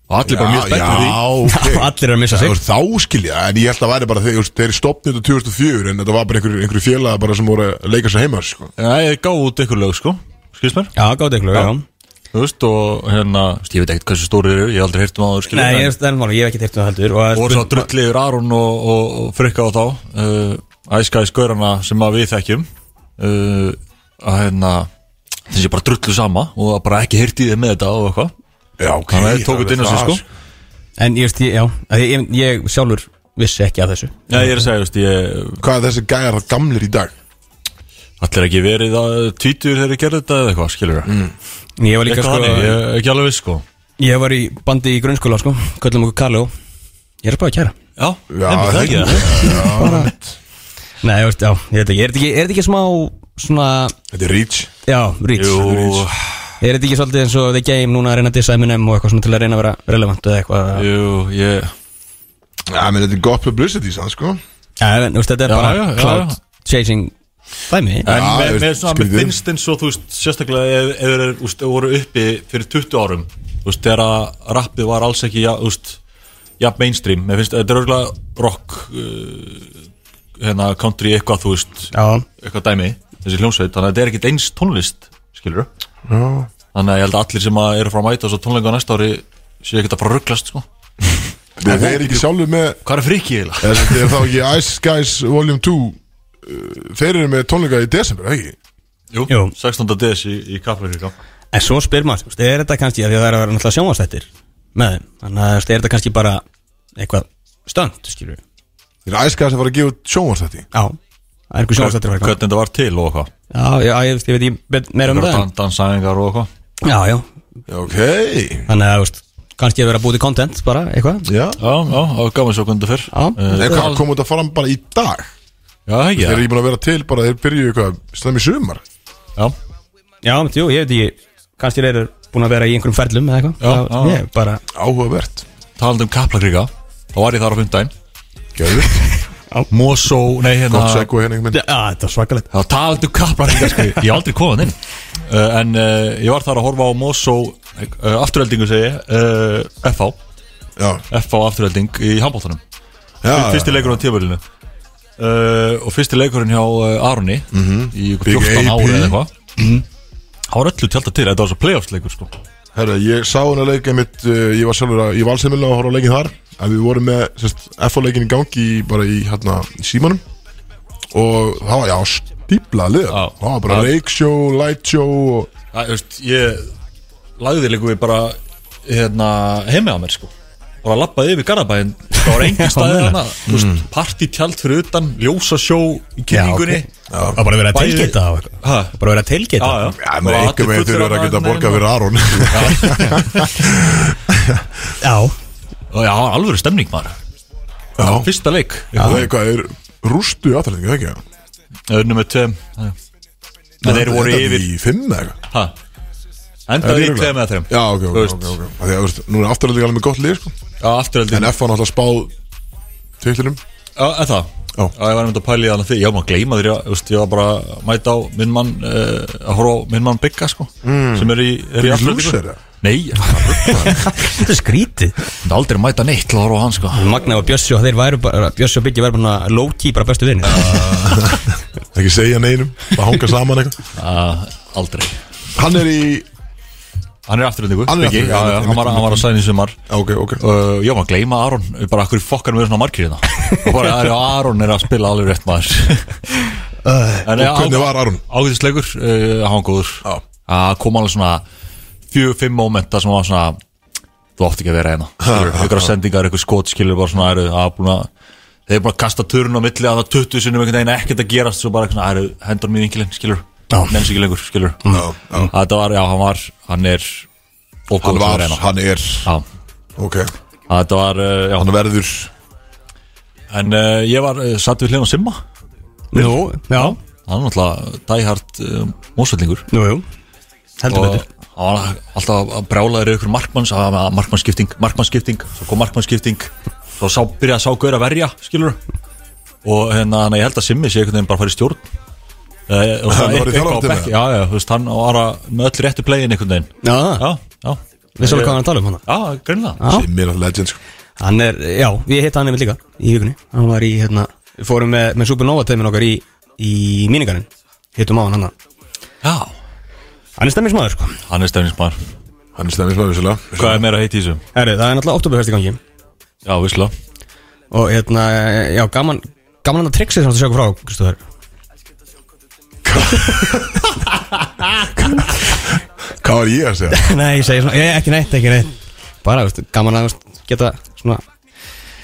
og allir bara mjög spenntur því. því Allir eru að missa Það sig voru þá skilja, en ég held að væri bara þeir, þú veist, þeir stopnið þetta 2004 en þetta var bara einhverju einhver félaga bara sem voru að leika sér heima sko. Já, ég gáði út ykkur lög, sko, skilst mér? Já, gáði ykkur, já Þú veist, og hérna, þú veist, ég veit ekkert hversu stóri þeir eru, ég hef aldrei heyrt um aður, skilur. Nei, en- ég, það er málum, ég hef ekki teirt um það heldur Og, og svo drullið yfir Aron og, og, og frikka á þá uh, æskæði skörana sem að við þekkjum uh, að hérna þessi bara drullu sama og að bara ekki heyrt í þeim með þetta og eitthvað Já, ok þannig að þeir tókut inn á sig sko En ég veist, ég, já, að ég, ég, ég sjálfur vissi ekki að þessu Já, ég er að segja, veist, ég, Hvað er þessi gæjar gamlir í dag? allir ekki verið að tvítur þegar ég gerði þetta eða eitthvað, skilur það mm. En Ég var líka, Eitthvað sko, þannig, ég... ég er ekki alveg viss sko var í bandi í grunnskóla, sko Köllum okkur Karlo Ég er að spáði kæra Já, Já, nefnir það ekki það Já, Nei, ég veist, já, ég veit ekki Er þetta ekki, er þetta ekki smá, svona, þetta er reach já, rýts Jú, Er þetta ekki svolítið eins og The Game núna að reyna að dissa Eminem og eitthvað svona til að reyna að vera relevant eða eitthvað jú, ég Já, menn þetta er gott publicity sann, sko Já, en, þú veist, þetta er Já, bara já, já, cloud já. chasing dæmi En Já, með, veist, með svona, með skrítið. finnst eins og þú veist, sérstaklega ef, ef þeir eru, þú veist, voru uppi fyrir 20 árum, þú veist, þegar að rappið var alls ekki, ja, þú veist, ja, mainstream, mér finnst, þetta er örgulega rock, uh, hérna, country, eitthvað, þú veist, Já, eitthvað dæmi, þessi hljómsveit, þannig að þetta er ekkit eins tónlist, skilur Já. Þannig að ég held að allir sem að eru frá að mæta þessu tónleika á næsta ári séu ekkert að fara að rugglast, sko. Þeir þeir eru ekki sjálfur með Hvað er frikið eiginlega? eða sem Þeir eru þá ekki Ice Guys Volume 2 uh, Þeir eru með tónleika í desember, ekki? Jú, Jú. 16. DS í, í Kaplavík, já. En svo spyr maður, þú veist, er þetta kannski af því að það er að vera náttúrulega sjónvastættir með þeim Þannig að þú veist, er þetta kannski bara eitthvað stönd, skilur við Þeir eru Ice Guys að fara að gefa sjónvarsætti Já, það er eitthvað sjónvastættir að vera Hvernig þetta var til og eitthvað. Já, já, ég, veist, ég veit ég bet- meira um það en- Dan- Dansæðingar og eitthvað. Já, já, Ok, þannig að þú veist, kannski að vera að búið til content bara, eitthvað já Já, já, það var gaman svo hvernig þetta fyrr. Já. Eh, En hvað kom þetta fram bara í dag? Já, það ekki Þeir eru það ekki búin að vera til bara, þeir byrju eitthvað Slæmi sumar Já, Já, mennt, jú, ég veit ég, kannski þeir eru búin að vera í einhverjum ferlum eða eitthvað Já, Það- já. Ég bara, Áhugavert talandi um kaplakríka Þá var ég þar á fymdæn Gæður Mosó, nei hérna Gott seggu hérna einhvern já, þetta er svakalegt Það talandi um kaplakríka sko Ég er aldrei komað inn uh, En uh, ég var þar að horfa á Mosó uh, Afturöldingu segi ég, uh, FH Já, FH afturölding í handbóltanum já Fyrsti leikurinn á tíðbölinu uh, Og fyrsti leikurinn hjá uh, Aroni Í ykkur Mhm. Big 14 AP. ári eða eitthvað Það var öllu tjálta til Þetta var svo playoffs leikur sko eh, Herra, ég sá hennar leik einmitt, uh, ég var sjálfur að, í valsheimilinu og horfði á leikin þar að við vorum með sérst, FO-leikin í gangi í- bara í hérna í símanum og það var já stípla lið Já. það var bara Já. reiksjó, lightsjó og Það, þú veist, ég lagði líka við bara hérna, heimi á mér sko bara lappaði yfir Garðabæinn það var engin staðið meina. hana þú Mm. veist, partítjald fyrir utan ljósasjó Já, í kynningunni ok. Það var bara verið að Bæði- tilgita á eitthvað Ha? Bara verið að tilgita já, já, Já, menn einhver veginn þurfur að geta hérna borgað fyrir Aron já já, já, alveg stemning maður Já, fyrsta leik það er hvað, er rústu aðtæðingu, það ekki? önnum með tveim já. en þeir voru Endaði yfir Í fimm eða eitthvað? ha? Er endaði í örugglega? tveim eða þeim Já, ok, Þú ok, veist. ok, ok Af Því að, þú veist, nú er afturhaldið alveg með gott lið, sko já, afturhaldi En F var náttúrulega spáð tveiklinum Já, eða það Já. Já, ég var einmitt að pæla í þannig því Ég var maður að gleyma þér, ég, veist, ég var bara að mæta á minn mann uh, að horfa á minn mann Bigga sko mm. sem er í, er í Fyrir Aftureldingu. lúser, eða? Nei, ég myndi Þetta er skrítið aldrei að mæta neitt til að horfa á hann sko Magna og Bjössi og þeir væru bara Bjössi og Biggi væru bara low-key bara bestu vinni Ekki segja neinum, það hanga saman eitthvað uh, Aldrei Hann er í, Hann er afturlendingu Hann er í Aftureldingu, já, já, einmitt, hann, var, hann var að sæna í sumar Já, ok, ok uh, Ég var að gleyma Aron bara akkur í fokkanum er svona margir hérna og bara já, Aron er að spila alveg rétt maður En eh, já, Hvernig var Aron? ágætisleikur uh, hann var góður Já. að kom alveg svona fjögur, fimm mómenta sem var svona þú átt ekki að vera hérna Skilurðu, einhverjar sendingar, einhver skot skilur bara svona eru að búin að þeir eru búin að kasta törun á milli að það 20 sinnum einhvern veginn ekkert að gerast svo bara svona, eru, hendur mjög vinkilinn skilur menns ekki lengur skilur Mm. Já, já. þetta var, já hann var hann er og Hann góður að var, vera hérna hann er, já ok að þetta var, uh, já, Hann verður en uh, ég var uh, satt við hljóðan Simma Jú, já, hann er náttúrulega dæhart uh, mósvellingur jú, jú Heldur og betur hann var alltaf að brjála þér ykkur markmanns að hafa markmannsskipting, markmannsskipting svo kom markmannsskipting svo sá, byrjaði að sá gaur að verja, skilur og hérna, þannig að ég held að Simmi sé einhvern veginn bara að fara í stjórn eh, og Hann það var í er eitthvað á þjálfarateymi? bekki já, já, þú veist, hann var að með öll réttu playin einhvern veginn Já, já, já, við svolítið hvað hann er að tala um hann já, greinlega Já. Simmi er alltaf legend, sko Hann er, já, ég hitt hann einmitt líka í vikunni Hann var í, hérna, við fórum með, með Supernova teimin okkar í, í míningarinn Hittum á hann hann já, Hann er stemmingsmaður, sko hann er stefningsmar Hann er stemmið smáður, vissulega hvað er meira að heita í þessu? Herri, það er náttúrulega oktoberfest í gangi já, vissla Og hérna, já, gaman, gaman hann að triksi sem þú sjáku frá, Kristofur Hvað var ég að segja? Nei, ég segi svona, ég, ekki neitt, ekki neitt Bara, veist, gaman að veist, geta svona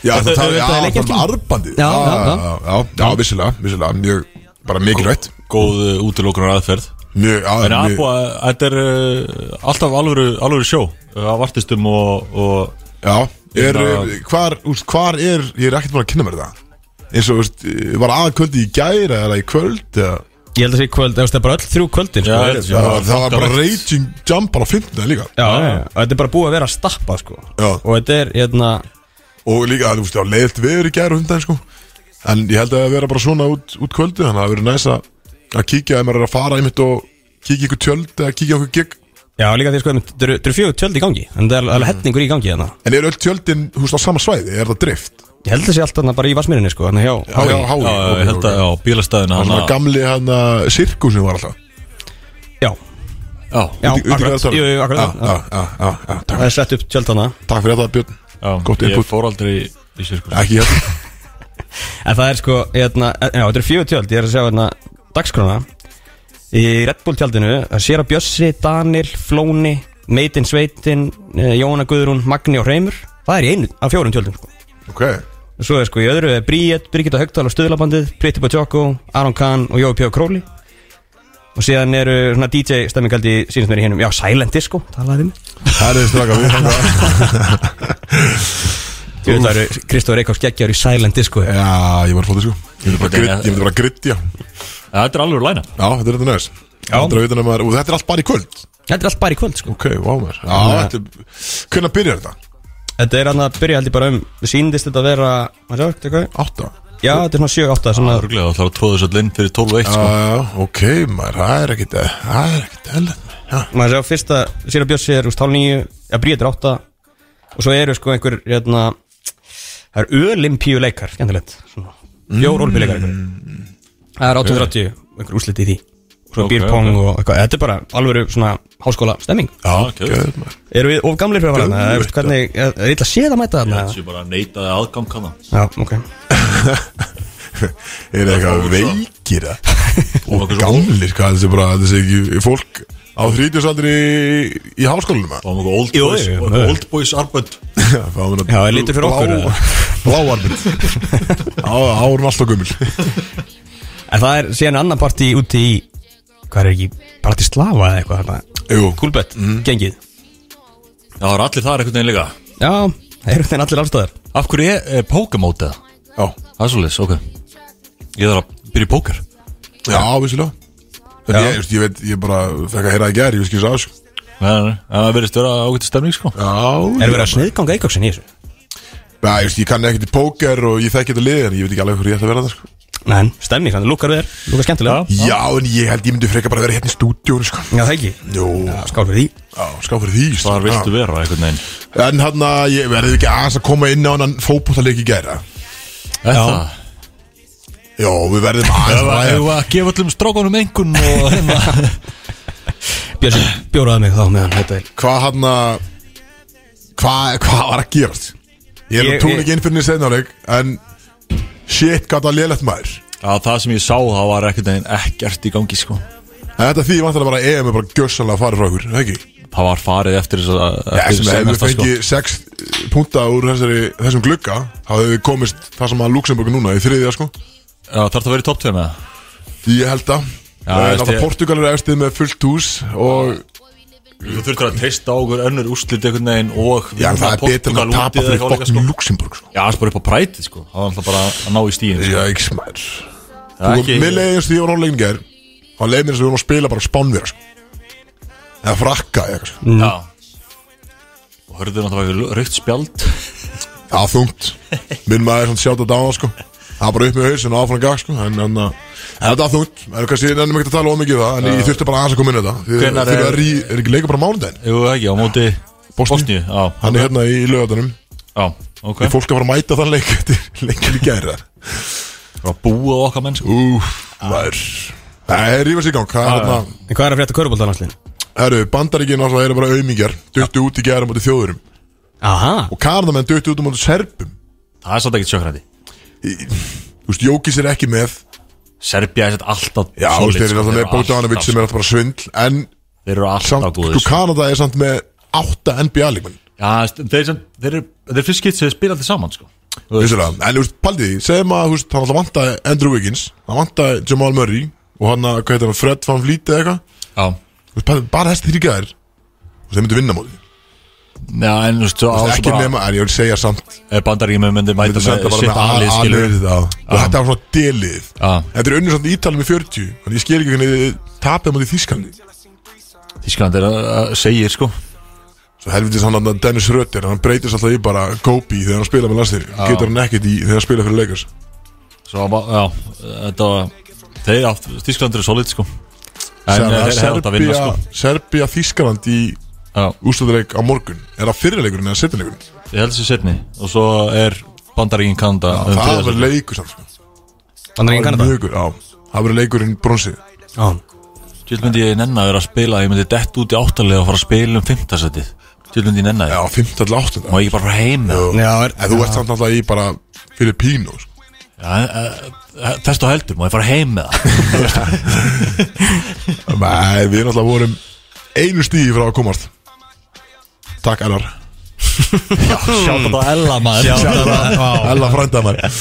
Já, Þetta- þetta það tala, já, er það leikjast er í- arbandi Já, já, já. já, vissulega, vissulega Mjög, bara mikilvægt góð eh, útilokunar aðferð Mjög, já, En mjög- Abba, eh, þetta er uh, alltaf alvöru, alvöru sjó uh, að vartistum og, og Já, er, Hérna- er- hvar, úst, hvar er, ég er ekkert búin að kynna mér það eins og, úst, var aðkvöldi í gæri eða í kvöld eða, Ég held að segja kvöld, þú veist, það er bara öll þrjú kvöldin sko. Já, það, var, það var bara fokkalegt. raging jump bara á 15 líka já, já, og þetta er bara búið að vera að stappa sko. Já. Og þetta er, hérna og líka, þú veist, það var leiðilt veður í gæri og hundan sko. en ég held að það vera bara svona út, út kvöldi, þannig að það verið næs að að kíkja ef maður er að fara einmitt og kíkja í ykkur tjöld eða kíkja í ykkur gig Já, líka því sko, einmitt, þetta eru þetta eru fjögur tjöld í gangi En það er alveg hetningur í gangi þarna en eru öll tjöldin, þú veist, á sama svæði, er það drift Ég held að segja alltaf bara í Vassmýrinni sko, þannig hjá já, HÍ. hái, já, ég held að, já, bílastæðina Það var svona hana- gamli hann að sirkusin var alltaf Já, Já, já, Úti- úti í akkurat Garðstofunni. Jú, jú, akkurat Já, já, já, já, já, takk Það er sett upp tjöld hana Takk fyrir þetta Björn já, Gott ég input. fór aldrei í, í sko. sirkus Ekki hérna En það er sko, hérna, já, þetta eru fjögur tjöld Ég er að segja hérna dagskrona Í Red Bull tjaldinu, það sér að Bjössi, Danil, Flóni Meitin, Sveitin, eh, Jóna Guðrún, Magni og Hreimur Það er í einu af fjórum tjöldum sko. Ok Svo er sko í öðru er Bríett, Birgitta Högtal og Stöðlabandið Pretty Bajoko, Aron Kahn og Jói P.O. Króli Og síðan eru svona DJ stemmingaldi sínast mér í hinnum Já, Silent Disco, talaði um Það er straka við Þú veit, það eru Kristóf Reykjavík geggjar í Silent Disco Já, Já, ég var fótið sko Ég myndi bara, gritt, ég myndi bara grittja Ja, Þetta er alveg læna Já, þetta er þetta næst Þetta er þetta maður Og þetta er allt bara í kvöld Þetta er allt bara í kvöld, sko Ok, vá maður Já, þetta er Hvernig byrjar þetta? Þetta er hann að byrja held ég bara um Við síndist þetta að vera maður sjá, þetta er hvað? Átta Já, þetta er svona 7-8 svona, Örglega, það var að tróða þessu allir inn fyrir 12 eitt Já, sko. já, ok maður Það er ekkit Það er ekkit helvend Já, Maður sjá fyrsta Sýra Bjössi er úst hálf nýju Já, Bríett er 8 Og svo eru sko einhver hérna, Það eru ölimpíu leikar Mm. Skendilegt Bjór olimpíu leikar einhverjir. Það er 830 Einhver úrslit í því svo okay, Ok, beer pong og eitthvað Þetta er bara alvöru svona háskóla stemming Já, ok. geðveikt, maður. Eru við of gamlir fyrir að fara þarna? Eða, veist, Hvernig, er er illa séð að mæta þarna? Það sé bara að neita þig aðgang hana Já, ok Er það eitthvað veikir það? Og gamlir, hvað þessi bara, þessi ekki fólk á þrítjúsaldri í, í háskólanum eða? Og mjög old Jú, boys, jú, og nei. old boys arbund Já, fáum við að- Já, er litur fyrir okkur, blá- eða? Bláarmynd Á- Árum alltaf gummul En það er síðan annan partí úti í Hvað er ekki, Bratislava eða eitthvað þarna Jú, Kúlbett, gengið Já, það er allir þar einhvern veginn líka Já, það eru þeirn allir allstaðar Af hverju er, er pókamót eða? já, Það er svolítið, ok Ég þarf að byrja í póker já, vissulega En Já. ég, just, ég veit, ég bara fekk að heyra það í gær, ég veist ekki svo aðeins Nei, nei, nei, en það verðist vera ágætti stemning sko Já, Er verið að sniðganga eikoksin í þessu? já, ég veist, ég kann ekkert í póker og ég þekki þetta lið En ég veit ekki alveg hverju ég ætla að vera það, sko Nei, stemning, þannig lukkar við þér, lukkar skemmtilega Já, en ég held ég myndi frekar bara vera hérna í stúdíónu, sko Já, það ekki Jú, Skál fyrir því já, ská fyrir því sko. Þar viltu Já. vera einhvern veginn En hann að, ég verði ekki aðeins að koma inn á hann fótbollaleik í gæra Já, Jó, við verðum aðeins að það ræða- að gefa allum strákanum engun og hérna Björn bjóraði mig þá meðan þetta er hvað hann að hvað, hvað var að gerast ég er Ég- að tún ég- ekki inn fyrir niður seinarleik en shit gata lélegt maður Já, það sem ég sá, það var einhvern veginn ekkert í gangi sko en þetta því vantilega bara EM er bara gjössanlega farið frá okkur er það ekki? Það var farið eftir þess að Ja, eftir sem hefur seinasta, sko. fengið 6 punta úr þessari, þessum glugga þá hefur við komist það sem að Luxemburg er núna í þriðja sko Já, þarf það að vera í topp 2 með það? ég held að Já, ja, veist náttúrulega ég- Portugal er eftir með fullt hús og Þú þurftur að treysta á okkur önnur úrslit einhvern veginn og já, það er betur en að tapa fyrir fokkin Luxemburg sko. Já, það er bara upp á præti sko Það var alltaf bara að ná í stíðin já, ekki smær Það er ekki Mér leiði eins og því ég var hóðlegin gær Það leiði mér eins og við vorum að spila bara spánverja sko. Eða frakka eða eitthvað sko. Já Og hörðu náttúrulega ekki raukt spjald Það er þungt Minn maður er svona sjátt að dána sko. Það er bara upp með hausinn og áfram gag sko. En, en, en þetta er þungt En kannski ég nefnum ekki að tala of mikið um það En ég þurfti bara aðeins að koma inn í þetta Þið Hvenær þurfið er- að rí, er ekki leika bara mánudaginn Jú, ekki, á móti Bosníu Já, Hann er hérna í lögadunum já, ok Ég fólk að fara að mæta þann leik Þetta er leikin í gær þar Það búið á okkar menn sko Úf, maður Það er rífast í gang Það Ah. er hérna En hvað er að frétta körubóldanarslinn? Herru, bandaríkinn alltaf eru bara aumingjar Duttu út í gærum átti þjóðurum Aha Og kanadamenn duttu út um átti serpum Það er svolítið ekki sjökræði Þú veist, Jókis er ekki með Serbia er sett alltaf sko. Já, þú veist, þeir eru alltaf með Bótaðanovic sem er alltaf bara svindl En Þeir eru alltaf samt, góðir sko, Kanada er samt með átta NBA-líkmenn Já, þeir sem- þeir eru Þeir eru fyrst skitt sem þeir spila alltaf saman sko Vissulega, en þú veist, paldið því Segjum að, þú veist, hann alltaf vantaði Andrew Wiggins Hann vantaði Jamal Murray Og hann, að, hvað heitir hann, Fred Van Vliet eða eitthvað Já Þú veist, bara- bara þessi þrý gæðir Þeir myndu vinna móti Já, en þú veist, svo á Eh, Það er svo ekki bara nema, en ég vil segja samt Bandaríkjum myndir mæta Þetta með senda sitt bara aðlið með skilur aðlið Og þetta var svona delið Já. Þetta er unnur samt ítalið með 40 Þannig ég skil ekki hvernig þið tapið móti þýskalni Þískland er að að segir sko Svo helvitis hann að Dennis Rötter, hann breytist alltaf í bara Kobe þegar hann spila með landsliði Getur hann ekkert í þegar hann spila fyrir leikars Svo var bara, já, þetta var Þeir átt, Þískland eru solid sko En Sem eh, að þeir hefðu átt að vinna Serbia, sko Serbia Þískaland í Já, úrslutareik á morgun Er það fyrirleikurinn eða setjuleikurinn? ég held þessi setni Og svo er Bandaríkin Kanada um Það þriðja er verið sæti. leikur samt sko. Þannig er Það ekki er Kanada mjög- Já, það verið leikurinn bronsi Já Tjöld myndi ég nenn að vera að spila Ég myndi dett út í áttalega og fara að spila um fimmtasettið Tjöld myndi ég nenn að Já, ég 15-8 Má ég ekki bara fara heim með Já, er- En þú ert samt alltaf í bara Filipínu sko. eh, það Þess þá heldur, má ég fara heim með það Nei, við erum alltaf vorum einu stíði frá að komast Takk Elvar Sjátt að það ella maður Sjátt að það Ella frænda maður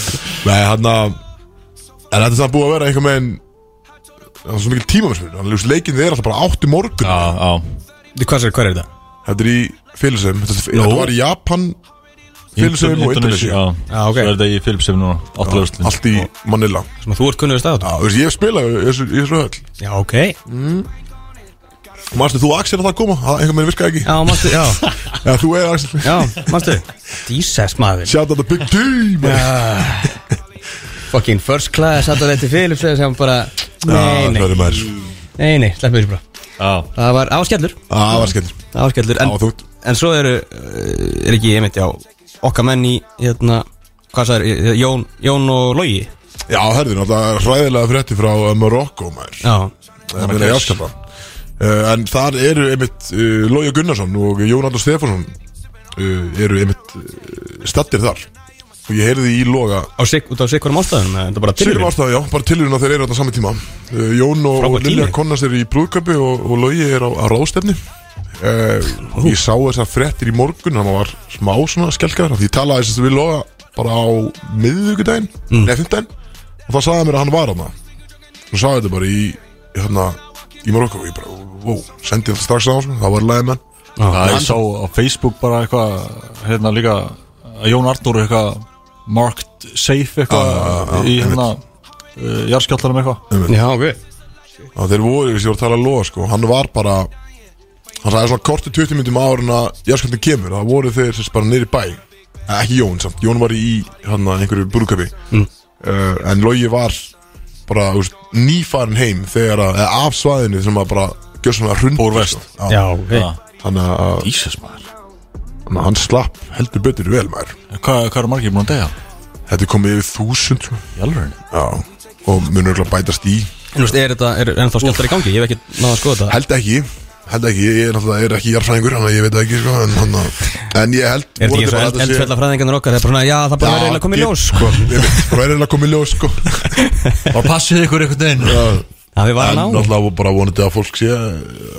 Nei, hann að En þetta er samt búið að vera einhvern veginn Það er svo mikil tímamismun Þannig að leikin er alltaf bara átt í morgun Já, já, Hvað sér, hvað er þetta? Þetta er í Filsum Þetta þetta var í Japan Filsum og Indonesia Já, ok. Svo er þetta í Filipsum núna Áttalega úrslit Allt í Manila Sem að þú ert kunnur við Já, staðat þú veist, ég spila í þessu í þessu höll Já, ok Já, Manstu, þú og Axel að það koma? Það einhvern veginn virkaði ekki mannstu, já Já, þú eða Axel Já, mannstu Jesus, maður Shout out the big team Fucking first class Satt að þetta Philips Þegar sem bara Nei, nei, Það er maður nei, nei Slepp mér þessu bara Já, Það var áskellur Það var skemmt Það var áskellur Það var en, þungt. en svo eru uh, Er ekki, ég myndi á Okkar menn í Hérna Hvað sagður Jón, Jón og Logi Já, herðin, það er hræðilega frétti frá Marokko, uh, maður Já Ég meina í áskapan uh, En þar eru einmitt uh, Lója Gunnarsson og Jónaldur Stefansson uh, eru einmitt uh, stattir þar og ég heyrði í Lóga á sig, út af sikvarum ástæðunum eða þetta er bara Sýrum tilviljun? ástæðan, já, bara tilurinn að þeir eru á saman tíma uh, Jón og, og Frábær Lilja tími. Konnast eru í brúðköpi og, og Lógi er á, á ráðstefni uh, Ég sá þessar frettir í morgun hann var smá svona skelkaður af því ég talaði þess að við Lóga bara á miðvíkudaginn, mm. nefndaginn og það sagði hann mér að hann var hann og sagði þetta bara í, í, hérna, í morgun og ég bara, wow, sendi þetta strax á hann sko, það var leiðið menn Já, ég sá á Facebook bara eitthvað hérna líka að Jón Arnur eitthvað marked safe Já, já, já, eitthvað í einmitt. hérna uh, jarðskjallanum eitthvað Já, ok að þeir voru, þess að ég voru að tala að loða sko, hann var bara hann sagði svona korti 20 myndum árun að járskjöldin kemur, það voru þeir sérst bara niður í bæ Eh, ekki Jón samt, Jón var í hann einhverju brúðköpi mm. en Logi var bara þú veist, nýfarin heim þegar að, eða af svæðinu sem að bara gjör svona hrundi Fór vest. sko. Já. Já, ok þannig að Jesus maður þannig að hann slapp heldur betur vel maður Hvað hva eru margir búin að degja? þetta er komið yfir þúsund sko. Í alveg Já. og munur ekki bætast í En þú veist, er þetta, er ennþá skjaldar í gangi? Ég hef ekki náða að skoða þetta Held ekki Held ekki, ég er náttúrulega ég er ekki jarfræðingur Þannig að ég veit það ekki sko, en, hann, að- en ég held Er þetta ekki vonandi svo eld, bara að þetta sé- eldfjallafræðingarnir okkar? Það er bara svona, já, það bara Já, verður eiginlega komið í get- ljós sko, ég veit, Það er eiginlega komið í ljós sko. Bara passið ykkur einhvern veginn Já, Það við En varum á náttúrulega bara vonandi að fólk sé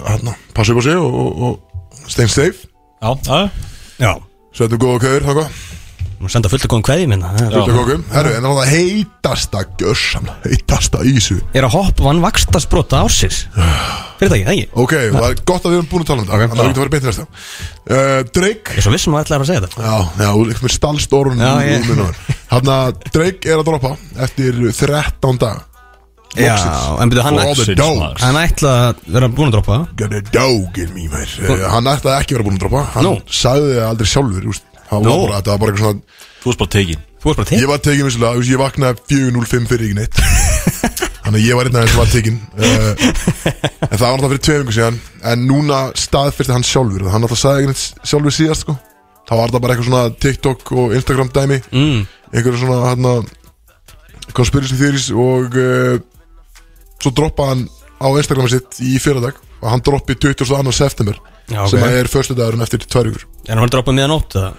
hana, Passa upp á sig og, og, og Stein safe Já, já, Já Svetum góða köður þangvað Nú senda fullt að góðum kveðjum hérna Svetum kókum Herru, en það heitasta gjörsamla Heitasta ísu Er að hopp vann vaksta sprota ársins Fyrir það ekki, það ekki Ok, það er gott að við erum búin að tala um þetta Þannig að við getum að fara beint í næsta uh, Ég Drake er svo vissum að ætlaði að segja þetta Já, já, þú líkt mér stálst orðun Já, ég- Þannig að Drake er að droppa eftir 13 dag Já, en byrju, hann, All the Loksins, dogs maður. hann ætlaði að vera búin að droppa það. Got a dog in me, maður Eh, Hann ætti ekki að vera búin að droppa Hann Nú. sagði það aldrei sjálfur úst. Hann var Nú. bara, þetta var bara eitthvað svona þú varst bara tekin Þú varst bara til Ég var tekin vissulega, þú veist, ég vaknaði 4.05 fyrir ekki neitt Þannig að ég var einn aðeins sem var tekin uh, En það var náttúrulega fyrir tveimingu síðan En núna staðfyrsti hann sjálfur Hann náttúrulega sagði ekki neitt sjálfur síðast sko. Það var það bara eitthvað svona TikTok og Instagram dæmi mm. einhverja svona hérna conspiracy theories og uh, svo droppaði hann á Instagrami sitt í fyrradag og hann droppi 22. september Já, ok. sem er förstu dagurinn eftir tvær ykkur En hann droppaði miðan ótt það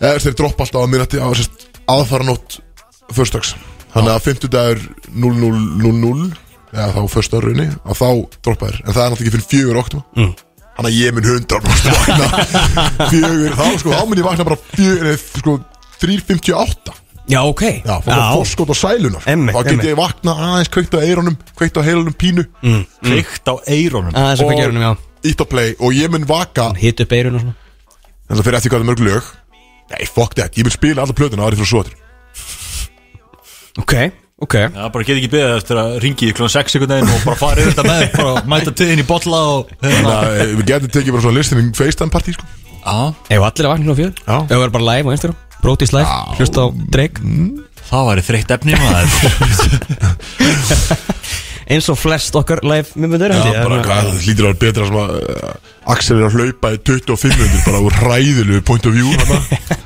eða þeir droppa alltaf á minnati á sérst aðfara nótt förstags þannig að 50 dagur 0000 eða þá första raunni og þá droppa þér en það er náttúrulega ekki fyrir fjögur oktum mm. þannig að ég mun 100% vakna fjögur þá sko þá mun ég vakna bara fjögur nei, sko 358 Já, ok Já, fór sko. það fórskot á sælunar Einmitt, Þá einmitt. geti ég vakna aðeins kveikt á eironum Kveikt á heilanum pínu mm. Kvikt á eirónum Það er svo hvað Og- gerur hann, já Ítt á play og ég mun vaka Hitt upp eirun og svona En það fyrir eftir hvað það er mörg lög Nei, fuck that, ég mun spila alla plötuna árið fyrir svo eftir Ok, ok Já, bara get ekki beðið eftir að ringi í kl. 6 einhvern veginn og bara fara yfir þetta með þér, bara mæta tíðin í bolla og Þannig hérna að eh, við getum tekið bara svona listin FaceTime partí sko Já, Ef allir að vakna klokkan fjögur Já. Ef við erum bara live á Instagram Brotis live Hlusta á Drake það væri þreytt efni maður Eins og flest okkar live miðmyndur Já, bara hvað, það hlýtur að vera betra sem að uh, Axel er að hlaupa í 25 hundur Bara úr ræðilegu point of view hana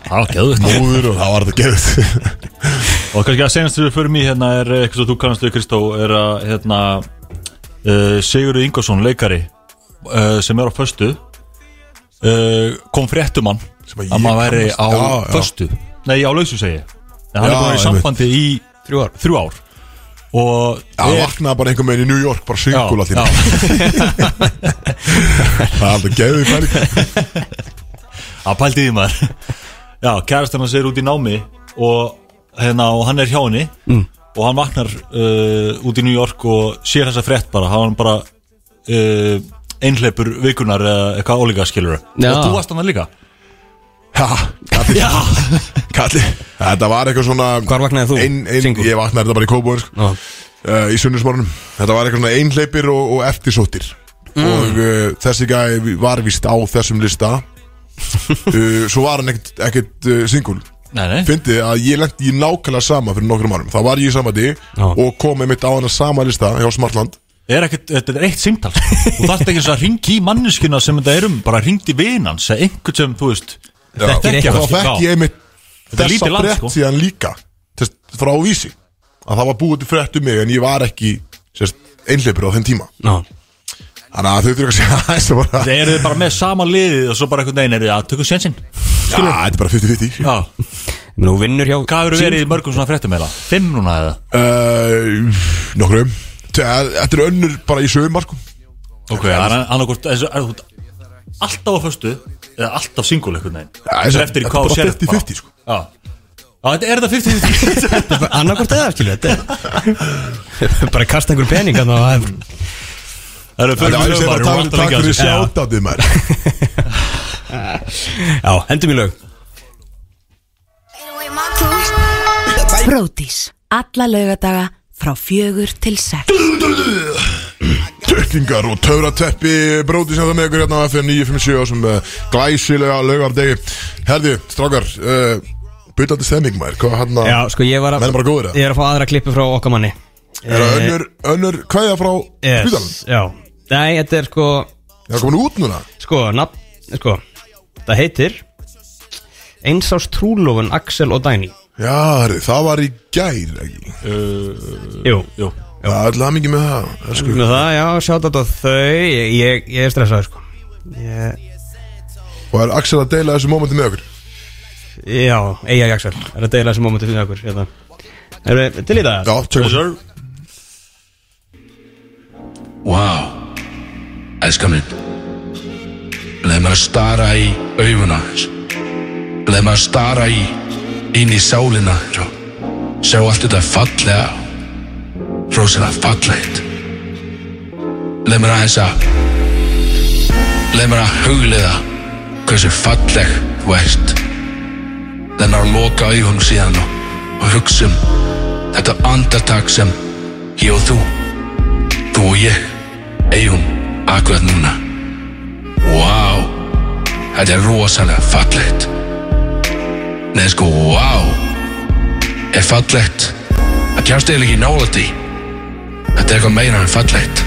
Já, geðvægt Móður og það var þetta geðið Og kannski að senast við förum í hérna er eh, eitthvað sem þú kannast við Kristó er að hérna uh, Sigurður Ingvarsson, leikari uh, sem er á föstu uh, kom fréttum hann Sem að að ég maður væri kannast- á Já, já. föstu Nei, á lausu segi ég En Já, hann er búin í einmitt. sambandi í Þrjú ár þrjú ár og Það er- vaknaði bara einhver meginn í New York Bara Já, syngul allir já. Það er alltaf geðið færi að pældi því maður Já, kærastan hans er út í námi og, hérna, og hann er hjá henni mm. og hann vaknar uh, út í New York og sér þessa frétt bara hann bara uh, einhleipur vikunar eða eitthvað ólíka skilur Já. og þú varst hann líka Ha, kalli Já. Kalli Þetta var eitthvað svona Hvar vaknaði þú, Ein, ein, Singur? ég vaknaði þetta bara í kóbúin sko, Já. uh, Í sunnusmorunum Þetta var eitthvað svona einhleipir og, og eftirsóttir Mm. Og uh, þessi gæði var vist á þessum lista uh, Svo var hann ekkert, ekkert uh, singul Nei, nei Fyndið að ég lendi í nákvæmlega sama fyrir nokkrum árum Það var ég í samandi Já. Og kom einmitt á hann sama lista hjá Smartland er ekkert, Þetta er eitt simtal Þú þarft ekki eins og að ringi í manneskina sem þetta er um bara ringdi vinans eða einhvern sem þú veist Þá þekki hann, fekk já. ég einmitt er þessa lítið land, frétt sko. síðan líka þess, frá vísi að það var búið til frétt um mig en ég var ekki sérst, einhleipur á þeim tíma Ná, Þannig að þau þurfa að segja aðeins að bara Já, Þeir eru bara með sama liðið og svo bara einhvern veginn eru að tökum sjensin þetta er bara 50-50 Já nú vinnur hjá Hvað eru verið í mörgum svona fréttum eða? Fimm núna eða? uh, Nokkrum Te- Þetta er önnur bara í sögumar sko Ok, það er annarkort eins og- er þú Alltaf á föstu eða alltaf single einhvern veginn eins og- Þetta er eftir í þetta hvað er þú bara sér 50-50, sko. Já Já, þetta er þetta 50-50 Annarkvort eða, skilu, þetta er Bara kasta einhver pening þarna og það er- Það eru Þetta er aðeins fyrir að maður taka takk fyrir sjáttatið mær Já, hendum í lög Bródís. Alla laugadaga frá fjögur til sex. Tökkingar og töfrateppi Bróti sem það með ykkur hérna á FM 957 sem uh, glæsilega lögar degi Herði, strákar uh, Bytandi stemming maður, hvað hérna- hann að Já, sko, ég var að Menn bara góðir, eða? Ég er að fá aðra klippu frá okkar manni Er það önnur, önnur kvæða frá yes. spítalum? Yes, já Nei, þetta er sko Er það komin út núna? Sko, nafn Sko, það heitir Einsás trúlofun Axel og Dæni Já, herri, það var í gær ekki? Jú, Jú Það er alltaf mikið með það elsku. með það, já, sjátt á þau Ég, ég, ég er stressaði, sko ég, Og er Axel að deila þessu mómenti með okkur? Já, eiga Axel Er að deila þessu mómenti fyrir okkur hérna. Erum við til í það? Já, tjekkum yes, Vá, elskar minn Leð mér að stara í augun aðeins Leð mér að stara í inn í sálina svo. Sjá allt þetta fallega Rósilega fallegt Leð mér aðeins að Leð mér að hugliða Hversu falleg þú ert Leð mér að loka augunum síðan og, og hugsa um Þetta andartak sem ég og þú Þú og ég eigum akkurat núna Vá Þetta er rosalega fallegt Nei sko, vá Er fallegt Það kemst eiginlega ekki nála því Þetta er eitthvað meira en fallegt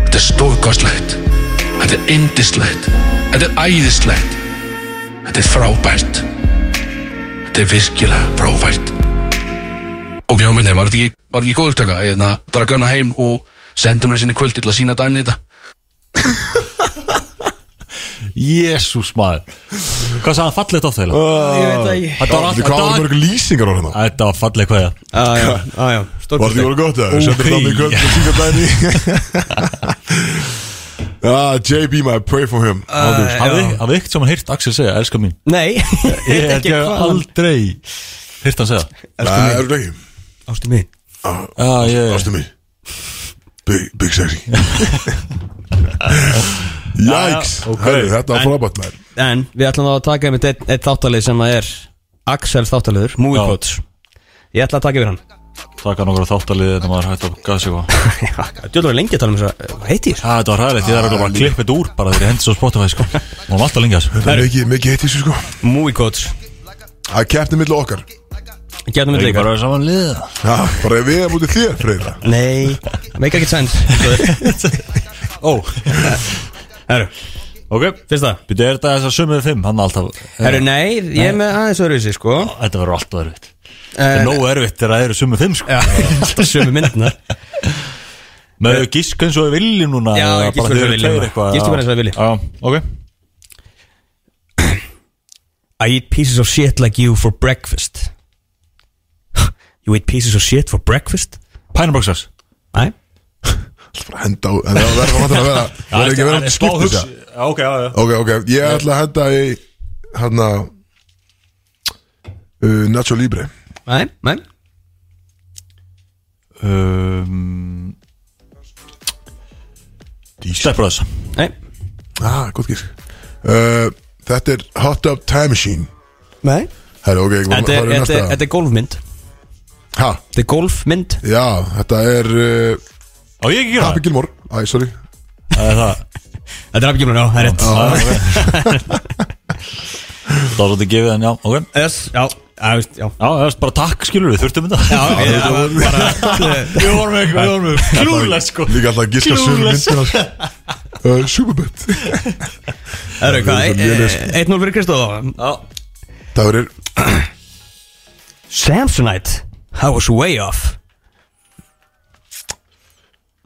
Þetta er stórkostlegt Þetta er indislegt Þetta er æðislegt Þetta er frábært Þetta er virkilega frábært og já, minni, var þetta ekki, var þetta ekki góður taka ég það drakk hana heim og sendum henni sinni kvöldi til að sína dæni þetta Jésús maður Uh. Hvað sagði hann fallið þetta á þeirra? Ég veit það ekki Þetta var Hvað var alltaf mörg lýsingar á hérna? Þetta var fallið hvað ég Ah, Já, já, já, já, Var þetta stórkostleg. voru gott eða? Ok. Settir það mig kvöld og syngja dæni Ah, JB my pray for him Ah, já. Hafið ekkert sem hann heyrt Axel segja, elskar mín Nei, ég Ég veit held ekki ég hef hvað aldrei Hýrt hann segja Það er ekki Ástu mín Já, ég Ástu mín Big, big sexy Jæks Já, ok. Herri, Þetta var frábært maður En við ætlum þá að taka einmitt eitt, eitt þáttalið sem það er Axel þáttaliður, Movie Já. Quotes Ég ætla að taka yfir hann taka nokkra þáttalið þegar maður hætti að gasa eitthvað Djóðlega var lengi að tala um þess að, hvað heiti þér? Já, þetta var ræðilegt, ég þarf örugglega bara að klippa þetta úr bara þegar ég hendi svo Spotify, sko Hún var alltaf lengi að þessu Það er mikið, mikið heitt í þessu sko Movie Quotes Það er keppnið millu okkar Gjarnum við Ekki líka bara vera saman liða Já, bara við erum mútið þér, Freyra Nei, make ekki sense Ó, Herru, ok fyrsta Býtu, er þetta þess að sömuðu fimm, hann alltaf Herru, Eh, nei, ég er með aðeins öðruvísi, sko Þetta verður alltaf erfitt Eh, Þetta er nógu erfitt þegar það eru sömuðu fimm, sko Já, alltaf sömu myndina Með gísk eins og við viljum núna Já, eða ég gísk bara bara þið eins og við eru viljum. tveir eitthvað, Gístum já. bara eins og við viljum. Já, ok I eat pieces of shit like you for breakfast You eat pieces of shit for breakfast? Pænaboksars Nei Bara henda á En það verður að vera Það verður ekki að vera að skipta þess að Ok, já, já Ok, ok, ég ætla að henda í Hanna uh, Nacho Libre Nei, nei Um, Stepbrothers Nei Ah, gott gísk uh, Þetta er Hot Tub Time Machine Nei Herra, ok, ég Þetta var að er- fara í þetta er- næsta þetta er golfmynd Ha, Þetta er golfmynd já, þetta er uh, Á ég ekki gera Happy Gilmore Æ, sorry það? Það er Þetta er afgjumlega, já, það er rétt það Það var svolítið gefið en já, ok Yes, já, já, veist, já Já, það er bara takk skilur við, þurftum þetta Já, ég var bara Við vorum með, við vorum með Klúles sko Líka alltaf að gíska sömu Clueless. myndina uh, Superbet Það eru Það er hvað, svo lélegis. 1-0 fyrir Kristof Já, Það verður Samsonite, I was way off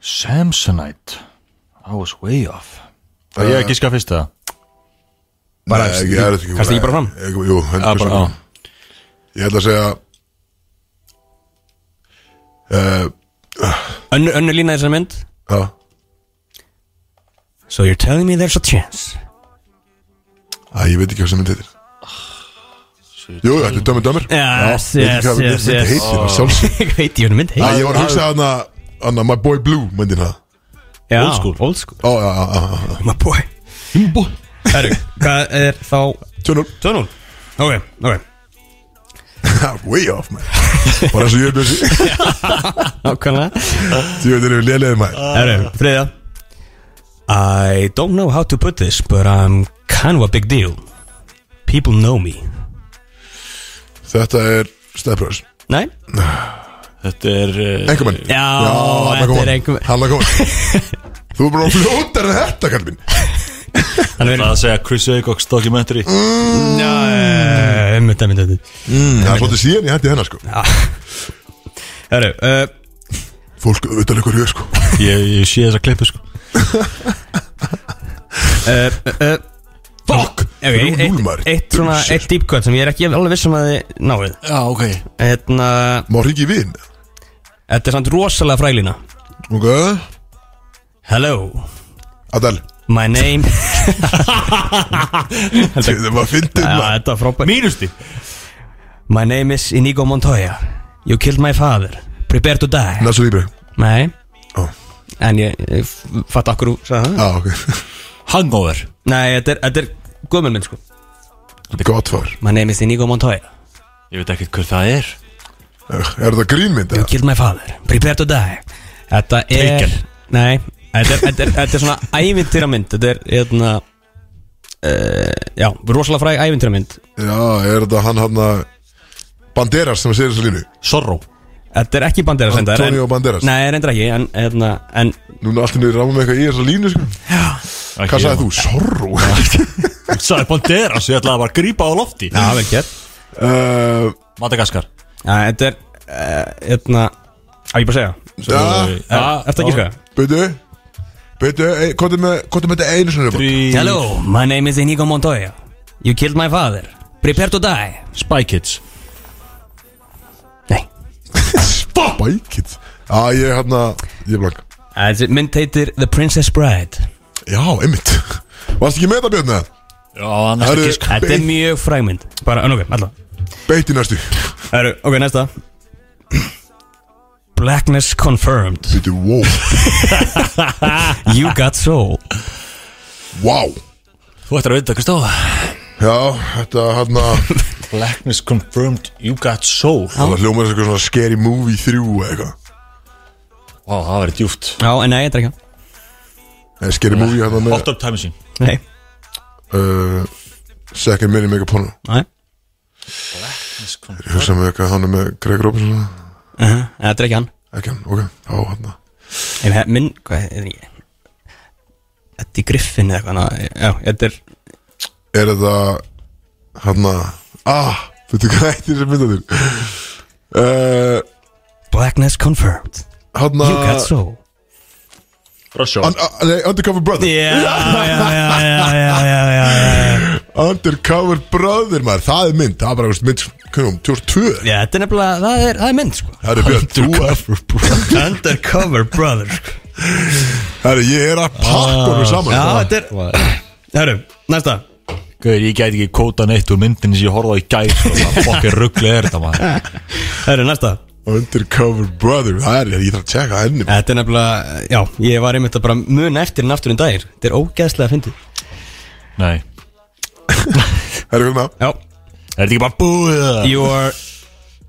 Samsonite I was way off Það ég ekki skaf fyrst það Bara, Nei, ég, er ekki, Kastu ekki bara fram? Ég, jú, hendur Já, Ah, bara, já. Ég ætla að segja uh, Önnu, önnu lína í þessari mynd Já, So you're telling me there's a chance Æ, ég veit ekki hvað sem myndi heitir Jú, þetta er dömur dömur Yes, Ég veit ekki yes, hvað yes, myndi yes heitir, það er sjálfsög Ég veit, ég er mynd Æ, heim ég var að hugsa hana, hana My Boy Blue myndin það Já, Old school. Old school Ó, já, já, já, já, My boy Herru, hvað er þá já Tjónur 2-0 Ok, ok Way off, man Bara eins og ég er bjössi Nákvæmlega Ég veit, erum við lélegið maður Herru, þriðja I don't know how to put this But I'm kind of a big deal People know me Þetta er Stepbrothers Nei? Þetta er uh, Engum enn Já, þetta er einhver Halla komin Þú er bara fljótar en þetta, kall mín Hann er Það að segja Chris Acox documentary verið Mynda, mynda, mynda Það er svolítið síðan ég hætti hennar, sko Herru, uh, Fólk auðvitað leikur hér, sko Ég, ég sé þessa klippu sko uh, uh, uh, Fuck Ok, Þrjú núll, eitt, maður. eitt svona, Djöfusins. eitt deep cut sem ég er ekki alveg viss um að þið náið Já, ok Hérna, Má ringi í vin þetta er samt rosalega frælina Ok Hello, Adel my name Það var fyndið Já, maður þetta er frábært Mínusti My name is Inigo Montoya You killed my father, prepare to die Næstu líbri Nei, Ó. en ég, ég f- fatt akkur úr, sagði það Já, ok Hangover Nei, þetta er, þetta er gömul minn sko Gott far My name is Inigo Montoya Ég veit ekkert hver það er Er þetta grínmynd? You eða? killed my father, prepare to die Þetta er Taken. Nei, þetta er, þetta er, þetta er svona ævintýra mynd Þetta er, hérna uh, Já, rosalega fræg ævintýra mynd Já, er þetta hann hann að Banderas sem að segja þessu línu Sorrow Þetta er ekki Banderas reyndar, en- Antonio Banderas. Nei, reyndar ekki, en, hérna, en Núna allt henni ráma með eitthvað í þessu línu, sko Hvað sagði þú? Sorru Sæði Banderas, ég ætlaði bara að grípa á lofti Já, vel gert Eh, Madagaskar Já, þetta er, uh, hérna Á, ég bara að segja eh, Já, Er- Ertu ekki sko? byrju Byrju, hvað er með hvað er með þetta einu sinni upp? Hello Hello, my name is Inigo Montoya You killed my father, prepare to die Spy Kids Nei Bækitt Já, ég er hann að Ég er blank Þessi mynd heitir The Princess Bride Já, einmitt Varst ekki með þetta björn eða? Já, annars Herru, ekki sko Þetta er mjög frægmynd Bara, en ok, allavega Beitt í næstu Heru, ok, næsta Blackness confirmed Byrju, wow You got soul Wow Þú ættir að vita, Kristóð Já, þetta hérna, hann að Blackness confirmed you got soul Vá, Það hljómaður eitthvað svona scary movie 3 eða eitthvað það verið djúft Já, en nei, þetta er ekki Nei, Scary movie hann að með Hot up time machine Nei, uh, Second Minute Mega Porno nei Ég hugsa með eitthvað hann er með Greg Robinson eða? Þetta er ekki hann Ekki hann, ok hérna. Já, hann að Uh-huh. Ég hef minn, hvað er ég Þetta er griffin eða eitthvað na- Já, þetta er Er þetta hann að Ah, veitu hvað heitir þessi mynda þér? Uh, Blackness confirmed hann You got að soul Brosjó Un- uh, Nei, Undercover Brother Já, já, já, já, já, já, já, já Undercover Brother maður, það er mynd Það er bara einhvers mynd, hvernig, 2002 Já, þetta er nefnilega, það er, það er mynd, sko Herri Björn, þú er Undercover brother, sko Herri, ég er að pakka honum saman Já, þetta er Herru, næsta Gauður, ég gæti ekki kóta neitt úr myndinni sem ég horfði á í gæt Hvað fokkir ruggli er þetta maður Herru, næsta Undercover Brother, það er, ég þarf að tjekka henni maður. Þetta er nefnilega, já, ég var einmitt að bara muna eftir en aftur en dagir Þetta er ógeðslega að fyndið Nei Herri, hvernig það? Já Er þetta ekki bara búið það? You are,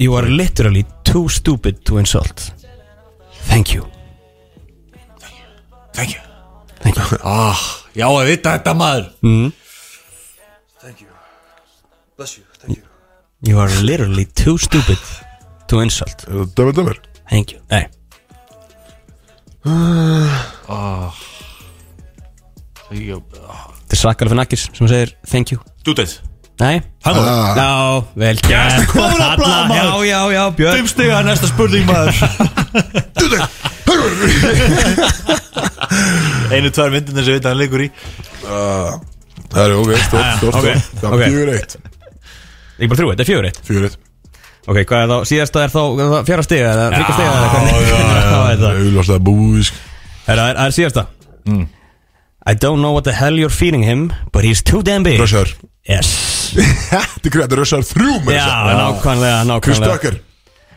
you are literally too stupid to insult Thank you Thank you Thank you Ah, já, ég veit þetta maður You are literally too stupid to insult Er það dömur, dömur? Thank you Nei Þetta er Sakar Fennakis sem segir thank you Dútið Nei Ah. Já, vel gert Góðan að Já, blaða maður já, já, Björn Fimm stiga er næsta spurning maður Dudek, Einu, tvær myndinir sem við hann leikur í Það er Ah. ok, stórt, stórt, ok, stórt Það ok. er fjögur eitt Ekki bara þrjú, þetta er fjögur eitt Fjögur eitt Ok, hvað er þá, síðasta er þá er það fjara stiga eða þryggja stiga eða hvernig Já, Hvað er já, það? auðvitað búið sko. Er það- Það er síðasta Mm. I don't know what the hell you're feeding him But he's too damn big Rössaður Yes Þetta er greið, þetta er rössaður þrjú með Já, nákvæmlega, Chris nákvæmlega Tucker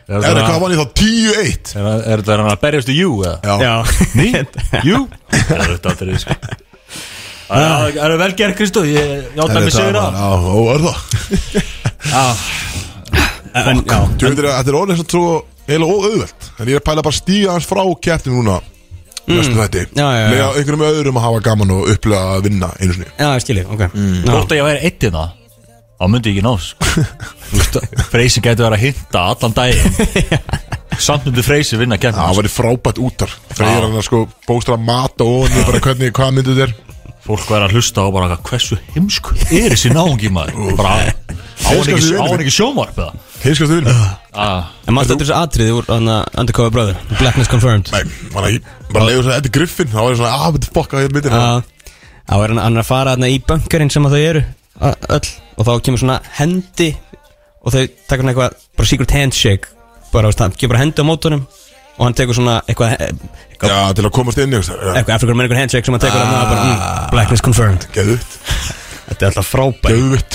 Er það hvað vann ég þá? 10-1 Er það- er þetta hann að berjast í jú eða? Já, Já Ný? Jú? Það er þetta aldrei sko Það það eru vel gerð Kristó Ég játa mig segir var- það Já, og er það En, já, Þú veitir að þetta er orðin svo eiginlega óauðvelt En ég er að pæla bara að stíga hans frá keppni núna Næstu mm. þætti Já, já, já. Lega einhverjum öðrum að hafa gaman og upplega að vinna einu sinni já, ég skilji, ok Mm. Já. Þótt að ég væri eitt í það Þá myndi ég ekki nás Freysi getur verið að hinta allan daginn Samt myndi Freysi vinna sko. kemur Það væri frábætt útar Freyjar hann að sko bóstra mat og onni bara hvernig, hvað myndu þér Fólk væri að hlusta og bara Hversu heimsku er þessi náungi maður Bara á hann Heimskasti ekki, vinur á hann minn. ekki sjómarp eða Hinskastu vinna Ah, En maður stættur þessu atriði úr hana, Undercover Brother Blackness Confirmed Nei, bara, ég- bara leiður þess að þetta er griffin Það væri svona, ah, betur fokka hér myndin Já, þá er hann, hann er að fara hana, í bunkerinn sem að þau eru a- öll og þá kemur svona hendi og þau tekur hann eitthvað bara secret handshake bara, veist, hann kemur bara hendi á mótunum og hann tekur svona eitthvað eitthvað, Já, til að komast inn Eitthvað eitthvað African American handshake sem hann tekur hann og bara mm, blackness confirmed Geðvitt Þetta er alltaf frábært Geðvitt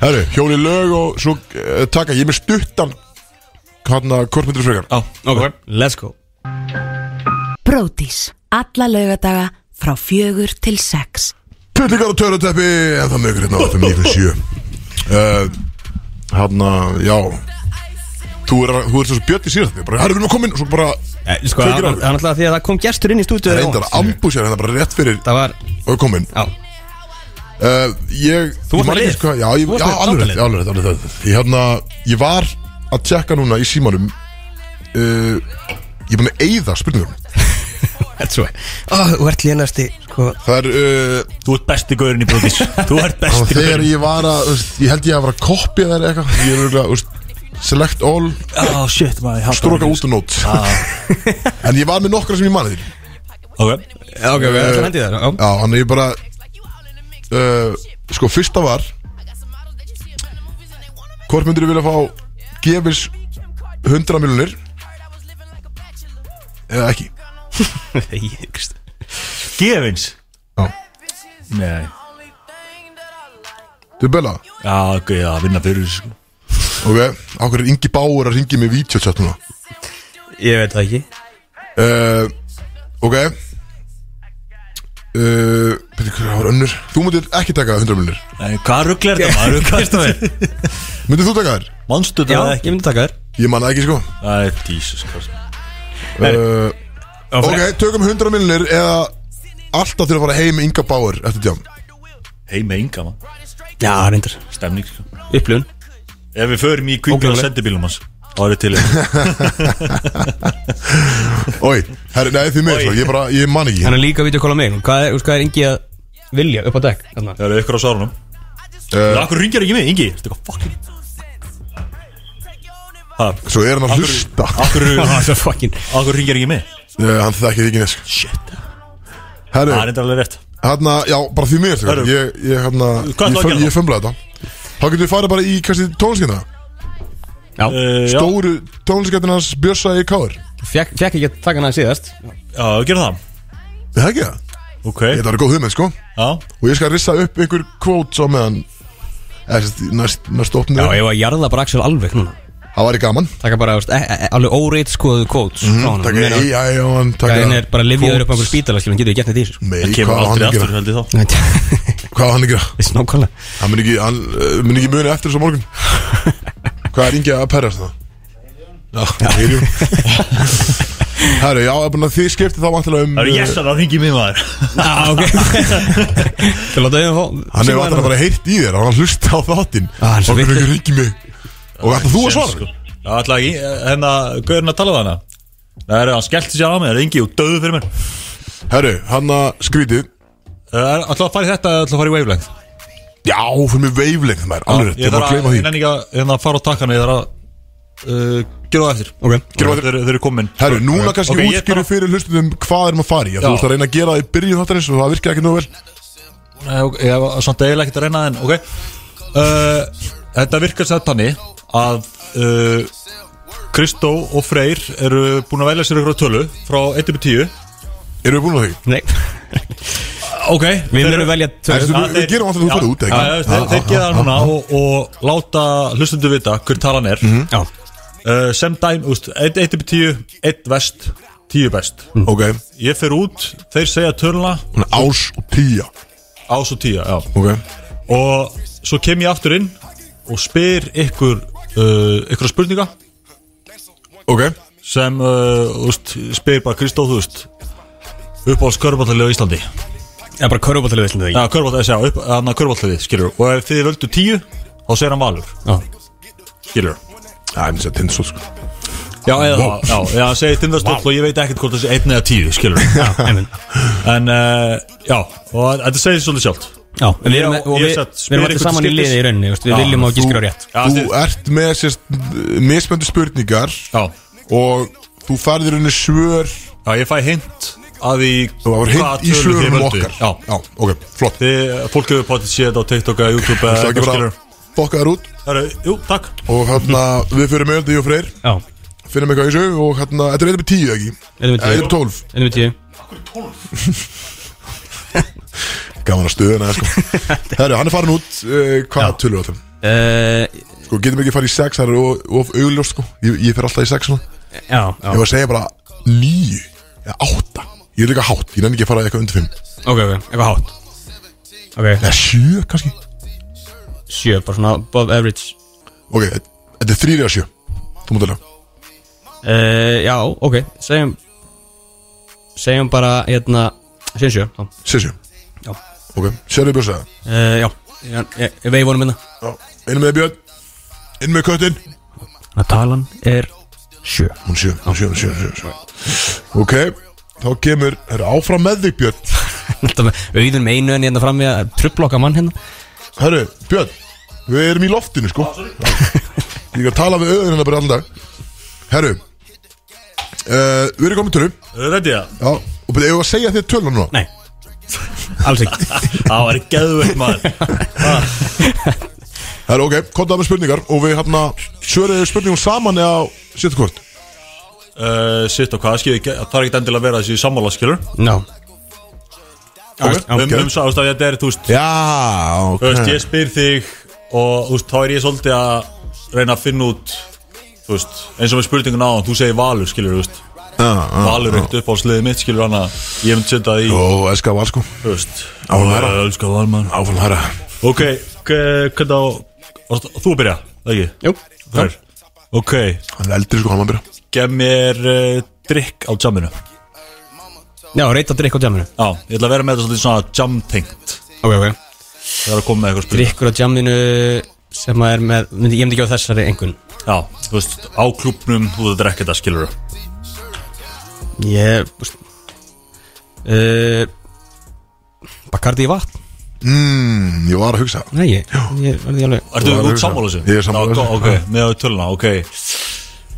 Herru, hjóli lög og svo uh, taka Ég er með stuttan Hanna, hvort myndir frekar Já, okay. Let's go Bródís. Alla laugadaga frá fjögur til sex. Pullingar og töruteppi En það mögur hérna á 597 uh, Hanna, hérna, já Þú er, þú er svo bjött í síðan Bara, herru, við erum að koma inn Og svo bara Eh, Sko, Kveikir hann á. hann alltaf því að það kom gestur inn í stúdíu reyndar að ambúsja Hérna bara rétt fyrir Það var, Og komin já, uh, Ég Þú varst ég man með ekki lið. sko- Já, ég, Þú varst já með alveg rétt bandalið. Alveg rétt, alveg rétt Ég hérna Ég var að tjekka núna í símanum uh, Ég er búin að eyða spurningunum þetta er svo Ah, Þú ert lénasti sko. Það er uh, Þú ert besti gaurin í bróðis Þú ert Og besti þegar gaurin ég var að, þú veist, ég held ég að var að kopja þær eitthvað Ég er auðvitað, þú veist, select all, oh, shit, maður, stroka út og nót En ég var með nokkra sem ég manið þér okay. Já, ok, við ætlum að hendi það já. Já, hann er ég bara, uh, sko, fyrsta var Hvort myndir ég vilja fá gefis 100 miljonir Eða ekki Ég hyggst. Gefins Já. Nei Þú er bella, Já, ok, já, vinna fyrir þessu, sko. ok, ákveður Ingi Báur að ringi mig vítjótsjátt núna Ég veit það ekki uh, Ok Uh, byrju, hvað var önnur? Þú myndir ekki taka 100 miljonir Nei, hvað rugglar þetta maður? Hvað- Myndir þú taka þér? Manstu Já, þetta eða ég ekki? myndi taka þér Ég manna ekki sko Æ, Jesus Christ uh, Ok, tökum 100 miljonir eða alltaf til að fara heim með Inga Bauer eftir tjám Hei með ynga maður, Já, reyndar stemning sko. Upplun Ef við förum í kvíkbjörn Ógljálega. sendibílum hans Árið til þér. Oi, herri, nei því með Oi. sko, ég bara, ég man ekki Hann er líka að vítja að kolla mig Hvað er, úr hvað er Ingi að vilja upp á dekk? þarna? Það eru ykkur á sárunum Eh. uh, Akkur ringir ekki mig, Ingi Þetta er eitthvað fucking Ha, Svo er hann að hlusta uh, Akkur, Það er svo fucking akkur ringir ekki mig Hann þekkir ekki nesk Shit, Herri, það er enda alveg rétt hérna, já, bara því með sko Herru. Ég, ég hérna, ég, ætlaðu að föm- gera þá? ég fömla þetta Þá getum við farið bara í, kannski, tónlskendina Já, uh, Já, Stóru tónlskendinans Björsa í Káur fekk, fekk ekki að taka hann að síðast já, gera það Er það ekki það? Ok, Þetta var góð hugmynd sko já Og ég skal rissa upp einhver kvót svo meðan eða sem sagt, Næst, næst opnum Já, við. ég var að jarða bara Axel alveg núna Það væri gaman Taka bara, veist, e e alveg óreit skoðu kóts mm -hmm, Takk að Takk EI á hann Takk að hann er bara að lifja þér upp á einhver spítala Skilum, getur við gert neitt í þessu sko. Nei, Það hvað kemur á hann aldrei að aftur gera held ég þá Hvað á hann að gera Þessi nákvæmlega Hann mun ekki, hann, uh, mun ekki muni eftir þessu á morgun Hvað er ingi að perrast það? Já, heyrum Herru, já, ég er búin að þið skipti þá vantilega um Það eru uh, yes, það ringir mig maður Já, Ah, ok Þú láta auðvitað fá Hann hefur Sigurðar vantilega bara heyrt í þér Hann var að hlusta á þáttinn Ah, hann er svo Okkur vitlaus. ykkur ringi mig Og ætla þú að svara Sko. Já, ætla ekki, hérna, gaurin að tala við hana Það er, hann skellti sér á mig, það er yngi og döðu fyrir mér Herru, hann að skrítið Það er alltaf Eh, að fara í þetta, alltaf að fara í wavelength Já, fyrir mig veiflengð maður, alveg rétt, Ég ég var þarf að gleyma að, því ég nenni ekki að, hérna, fara á takkan Ég þarf að uh, Gjörðu það eftir Ok. Gerum það Þeir, þeir eru komin Herru, núna kannski Ok, okay, ég útskýru bara- fyrir hlustundum hvað erum að fara í að Þú Já. veist að reyna að gera það í byrju þáttarins og það virkar ekki nú vel Nei, ok, Ég var samt eiginlega ekkert að reyna það en ok uh, Þetta virkar sætt þannig að uh, Kristó og Freyr eru búin að velja sér ykkur á tölu frá 1-10 Erum við búin að því? Nei, Ok, við erum velja Erstu, tölum við, við gerum alltaf þú farið út, Já, já, þeir, þeir ekki? geða það núna og, og láta hlustundu vita hver talan er Mhm. Já, uh, sem dæm, úst, 1 upp í 10 1 vest, 10 best Mm. Ok, ég fer út, þeir segja töluna hún er ás og tíja ás og 10 já. Ok, og svo kem ég aftur inn og spyr ykkur uh, ykkur spurninga ok sem uh, úst, spyr bara Kristóð þú veist uppáhalds körfbáttaliði á Íslandi það er bara körfubáttalið veitlega Já, körfbáttaliði, já, upp, hann að körfbáttaliði, skilur og ef þið völdu 10, þá segir hann valur ekki skilur Það er mér sér tindsótt sko Já, eða, Vá. já, já, segir tindastóll og ég veit ekkert hvort þessi einn eða tíu, skilur Já, einmitt En, uh, já, og þetta segir svolítið sjálft Já, en við erum, Já, og ég við, satt, við erum spyr allir ykkur saman í til skiptis. liði í rauninni, veist, við Já, viljum á ekki þú- skrifa rétt Já, Þú þið- ert með sérst mismöndu spurningar Já, og þú færðir henni svör já, ég fæ hint að því Þú var hinn í svörum okkar Já, Eh, já, ok, flott þið, fólk hefur potið séð þetta á TikTok eða YouTube eða Það er ekki eitthvað, bara skilur fokka þær út Herru, jú, takk og hérna við fyrir með öllu í og freyr Já, finnum eitthvað í þessu og hérna, þetta er eitthvað tíu ekki erum við Eða tíu eitthvað tólf, Erum við tíu gaman að stuðuna sko. Herru, hann er farin út, uh, hvað tölur á þeim? Eh, Sko, getum ekki farið í sex, það er of, of augljóst sko. ég, ég fyrir alltaf í sex svona Já, já, Ég var að segja bara níu eða átta Ég er líka hátt, ég nenni ekki að fara eitthvað undir fimm ok, ok, eitthvað hátt Ok, Eða sjö kannski sjö, bara svona above average Ok, þetta er þrýri að sjö Þú mútið alveg uh, Já, ok, segjum Segjum bara, hérna, segjum sjö þá. Sjö sjö Já. Ok, sérðu björs eða Eh, Já, ég, ég, ég veið vonum hérna. minna Já Inn með Björn Inn með köttin Þannig að talan er sjö Hún er sjö, hún er sjö, hún er sjö, sjö, sjö Ok, þá kemur Það eru áfram með þig Björn Þetta með auðun með einu en hérna fram við að trubblokka mann hérna Herru, Björn Við erum í loftinu sko Já. Ég er að tala við öðun hennar bara allan dag Herru uh, Við erum komin tölu Já, Eru ready það? og betur, ef að segja þér tölun núna Nei, alls ekki Það var geðveikt maður Það er ok, kontaða með spurningar og við hérna svöruðu spurningum saman eða setja hvort uh, Sitt og hvað, skilur, ég- það er ekkert endilega að vera þessi sammála, skilur Já, Ok, Um, um, sá, þú veist, þetta er, þú veist, Já, ok Þú veist, ég spyr þig og þú veist, þá er ég svolítið að reyna að finna út þú veist, eins og með spurningun á þú segir valur, skilur, þú veist Ah, valur ekkert upp á sliðið mitt, skilur hana ég myndi setja það í, Ó, eska var sko þú veist Áfram herra. Elskar valmann Áfram hæra Ok, k- hvernig á varst- þú að byrja, það ekki? jú, Hver? Ok, Hann er eldri sko, hann var að byrja gef mér uh, drikk á jamminu Já, já, reyta drikk á djaminu ég ætla að vera með þetta svolítið svona jamtengt Ok, ok það er að koma með eitthvað spurning drikkur á jamminu sem að er með, myndi, ég myndi ekki á þessari engun Já, þú veist, á klubnum þú veist að drekka þetta, skilur ég búst, uh, Bacardi í vatn Mmm, ég var að hugsa nei, ég, ég verði alveg um Þú Ertu þú verður út sammála þessu? Ég er sammála þessu. þessu Ok, með á töluna, ok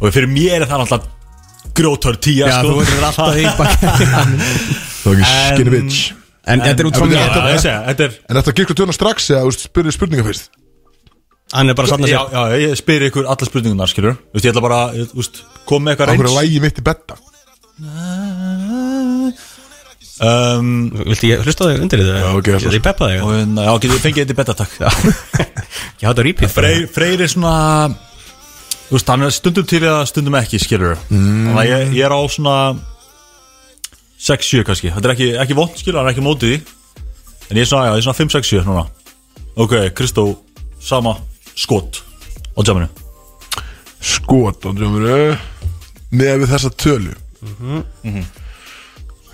Og fyrir mér er það náttúrulega grótör tíja Já, sko. þú verður alltaf því Bacardi í vatn. Það var ekki skinny bitch en þetta er út frá en- Já, mér já, ég segja, þetta er En þetta gikk tölun strax eða úst, spurðu spurningar fyrst hann er bara sann að Já, segja já, ég spyr ykkur alla spurningunar, skilur Þú veist, ég ætla bara, ég- þú veist, kom með eitthvað Það er reyns lægi mitt í betta um, viltu ég hlusta á þig undir þetta? Já, ok, ég ætla ég peppa þig og, en, Já, getur fengið þetta í betta, takk ég hafði að repeat Freyr, Freyr er svona Þú veist, hann er stundum til eða stundum ekki, skilur Þannig að ég, ég er á svona 6-7 kannski Þetta er ekki, ekki vond, skilur, hann er ekki á móti því En ég er svona, já, ég er svona 5-6-7 núna Ok, Kristó, sama skot á jamminu Skot á drömmuru Með eh, við þessa tölu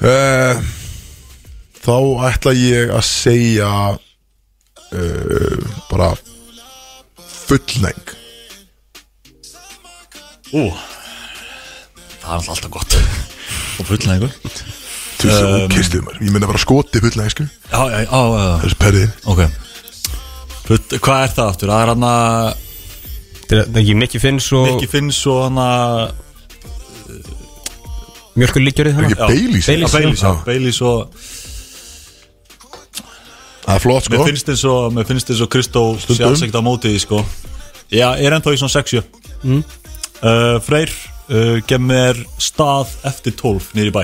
Eh, Þá ætla ég að segja uh, Bara Fullnæng Ú Það er alltaf gott Og fullnæðingu Þú veist Um, það ókistuð maður Ég meina bara skoti fullnæg sko Já, já, já, já, já Þessi perriðin ok Full, Hvað er það aftur? Það er hann að Þetta er ekki Mikki Finns og Nicky Finns og hann að Mjölkur Líkjörið Ekki Baileys Baileys, Baileys, já, já. Baileys og Það er flott sko Mér finnst eins og, mér finnst eins og Kristó sé alls ekkert á móti því sko Já, er ennþá í svona 60 mm. uh, Freyr, uh, gem mér stað eftir 12 nýri bæ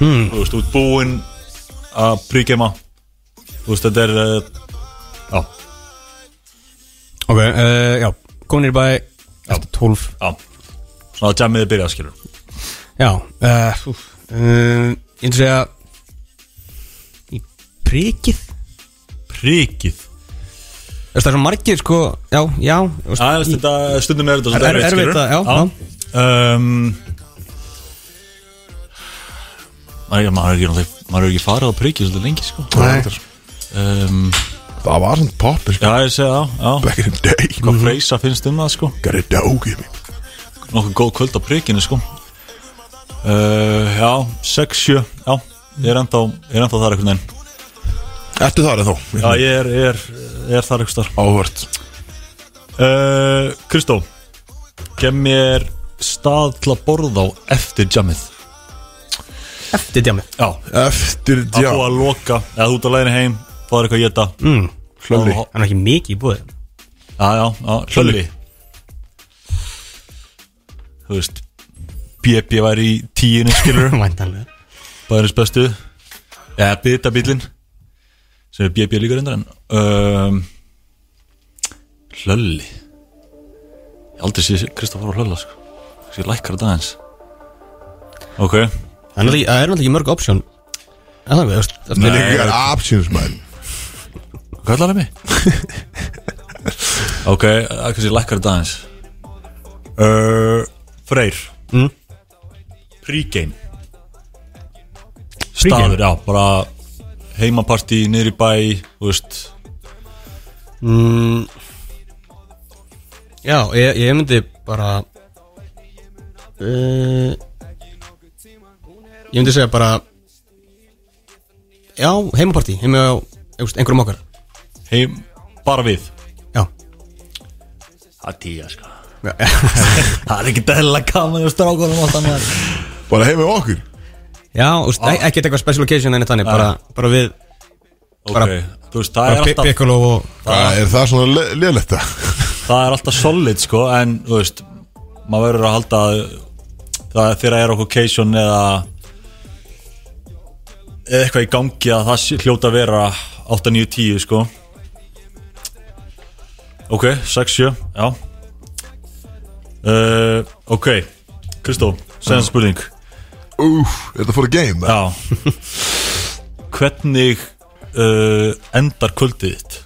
hmm. Þú veist, út búinn að príkema Þú veist, þetta er uh, Já, Ok, uh, já, komin í bæ Eftir 12 já Svona að jammið er byrjað skilur Já, uh, úf, uh, ég vil segja Í prikið Príkið Þú veist, Það er svo margir sko, já, já þú veist, Já, þetta stundum er þetta Er- er- erfitt að- já, já. um, maður, er- maður, er ekki, náttúrulega- maður er ekki farið á prikið svolítið lengi sko um, Það var svona poppir sko Já, ég segi það, já Back in the day Mhm. Hvað freysa finnst um það sko Got it doggy me Nokkuð góð kvöld á prikinu sko uh, Já, 6-7 Já, ég er ennþá, ég er ennþá þar einhvern veginn Ertu þar eða Já, þá? ég er, ég er, ég er þar einhvers þar Áhvert uh, Kristó Kem mér stað til að borða á eftir jammið Eftir djámið Já, Eftir að já þú að loka Eða þú ert að leiðin heim, það er eitthvað að geta mm. Hlölli Hann er ekki mikið í búið Já, já, já, hlölli Þú veist BB væri í tíinu skilur Væntanlega Bæðurins bestu Eða bita bílinn sem er BB líka reyndar en um, Hlölli Ég aldrei sé Kristoffer á hlölla sko Þessi lækkar þetta aðeins Ok Það er náttúrulega ekki- það er náttúrulega ekki mörg option Það er það, þú Nei, veist ég er absins mæn Hvað ætlar það mig? ok, það kannski lækkar þetta aðeins uh, Freyr mm? Prígein Staður, já, bara heimapartí, niður í bæ, þú veist Já, ég, ég myndi bara uh, Ég myndi segja bara Já, heimapartí Heima á einhvers- einhverjum okkar heim, bara við Já, Það er tíja sko já, Það er ekki dæla gaman og strákunum alltaf með Bara heim með okkur já úst, ah. ekkert eitthvað special occasion en þannig bara, bara við, Ok, Bara- þú veist, það er bara pi- alltaf piccolo og Það er það svona le- lélegt það Það er alltaf solid sko En, þú veist, maður verður að halda að Það er þegar er okkur occasion eða eða eitthvað í gangi að það sé- hljóta að vera 8, 9, 10 sko Ok, 6, 7, já uh, Ok, Kristó, segðan spurning Úf, þetta fór að game það Já Hvernig uh, endar kvöldið þitt?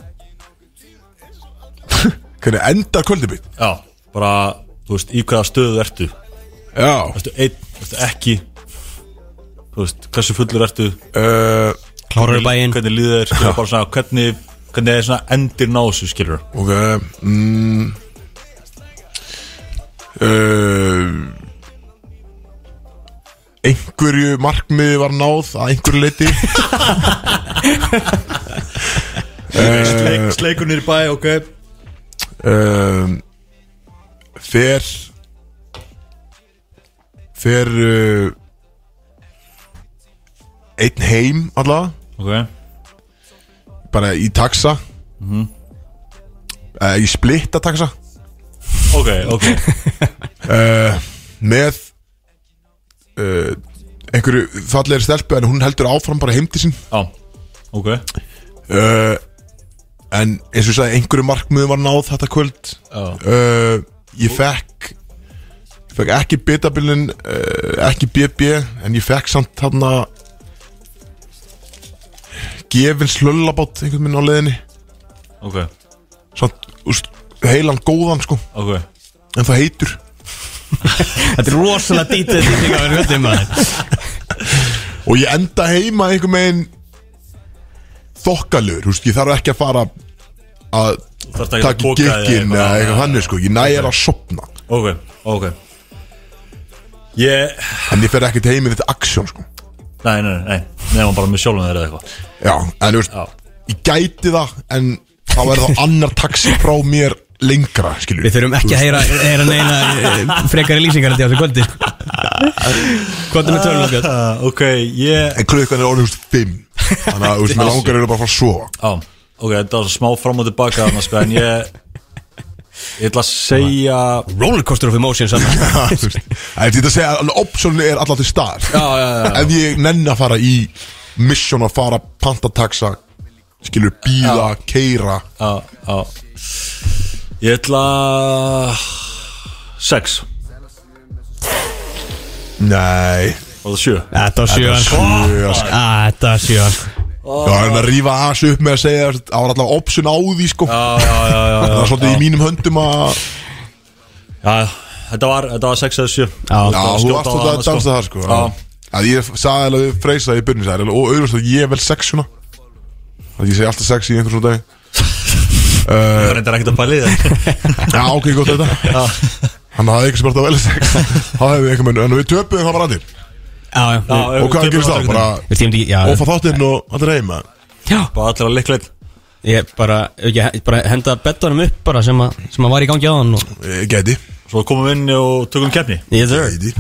Hvernig endar kvöldið mitt Já Bara, þú veist, í hvaða stöðu ertu? Já Ertu einn, ertu ekki Þú veist, hversu fullur ertu? uh, klárar í bæinn Hvernig líður þér? skilur, Bara svona, hvernig, hvernig er svona endir ná þessu, skilur? Ok mm, uh, Einhverju markmiði var náð að einhverju leiti Eh. Sleik, sleikunir í bæ, ok um, Fer Fer uh, Einn heim allavega Ok, Bara í taxa mm Í splitta taxa ok, ok uh, með uh, einhverju fallegri stelpu en hún heldur áfram bara heimti sín Já, ok uh, en eins og ég sagði einhverju markmiðum var náð þetta kvöld Já. uh, ég fekk ég fekk ekki bitabilin uh, ekki BB en ég fekk samt þarna gefins lullabátt einhvern minn á leiðinni Ok, samt úst, heilan góðan sko ok en það heitur Þetta er rosalega dítið dítið að vera höndum maður og ég enda heima einhver megin þokkalur, þú veist, ég þarf ekki að fara að Þú þarft ekki að taka poka þig gikkin eða eitthvað. eitthvað þannig sko, ég nægir að sopna Ok, ok Ég, en ég fer ekkert heim í þetta aksjón sko nei, nei, nei Nefnum bara með sjálfum þeir eða eitthvað já, en þú veist, Já. ég gæti það en þá er það annar taxi frá mér lengra, skilur Við þurfum ekki að heyra, heyra neina eh, frekari lýsingar þetta á þessu kvöldi sko. Kvöldi með tölunum Björn Ah, Ok, ég En klukkan er orðið úrst fimm Þannig að þú veist, með langar eru bara að fara að sofa Já, ok, þetta var smá fram og tilbaka þarna, sko, en ég ég ætla að segja Rollercoaster of emotions saman Ha, þú veist. Það er þetta að segja að option er alltaf til staðar Já, já, já, já. Ef ég nenni að fara í mission að fara pantataksa skilur bíla, keira á, á. ég ætla að- sex Nei og það sjö Þetta var sjöan sko. Sjö, sko. Ah, Þetta var sjöan sko. Já, en að rífa aðs upp með að segja þú veist, Það var alltaf option á því sko Já, já, já, já, Það já. er svolítið í mínum höndum að já Þetta var, þetta var sex eða sjö Já, þú varst alltaf að dansa það sko Já, Að ég sagði alveg við freysa í byrjun sagði, alveg, Og auðvitað að ég er vel sex svona Að ég segi alltaf sex í einhvern svona dag það var reyndar ekkert að pæli það Já, ok, gott þetta Hann hafði eitthvað sem bara vel sex Það hefði eitthvað menn En við töpuðum það var allir Já, já Já, Og hvað tökum gerist það þá? Bara Við tímum ekki, já ofa þáttinn og allir heima Já, Bara allir að likla einn ég bara, ég bara henda bettunum upp bara sem að, sem að var í gangi á hann og... Eh, Gæti Svo komum við inn og tökum keppni Yes, sir. Gæti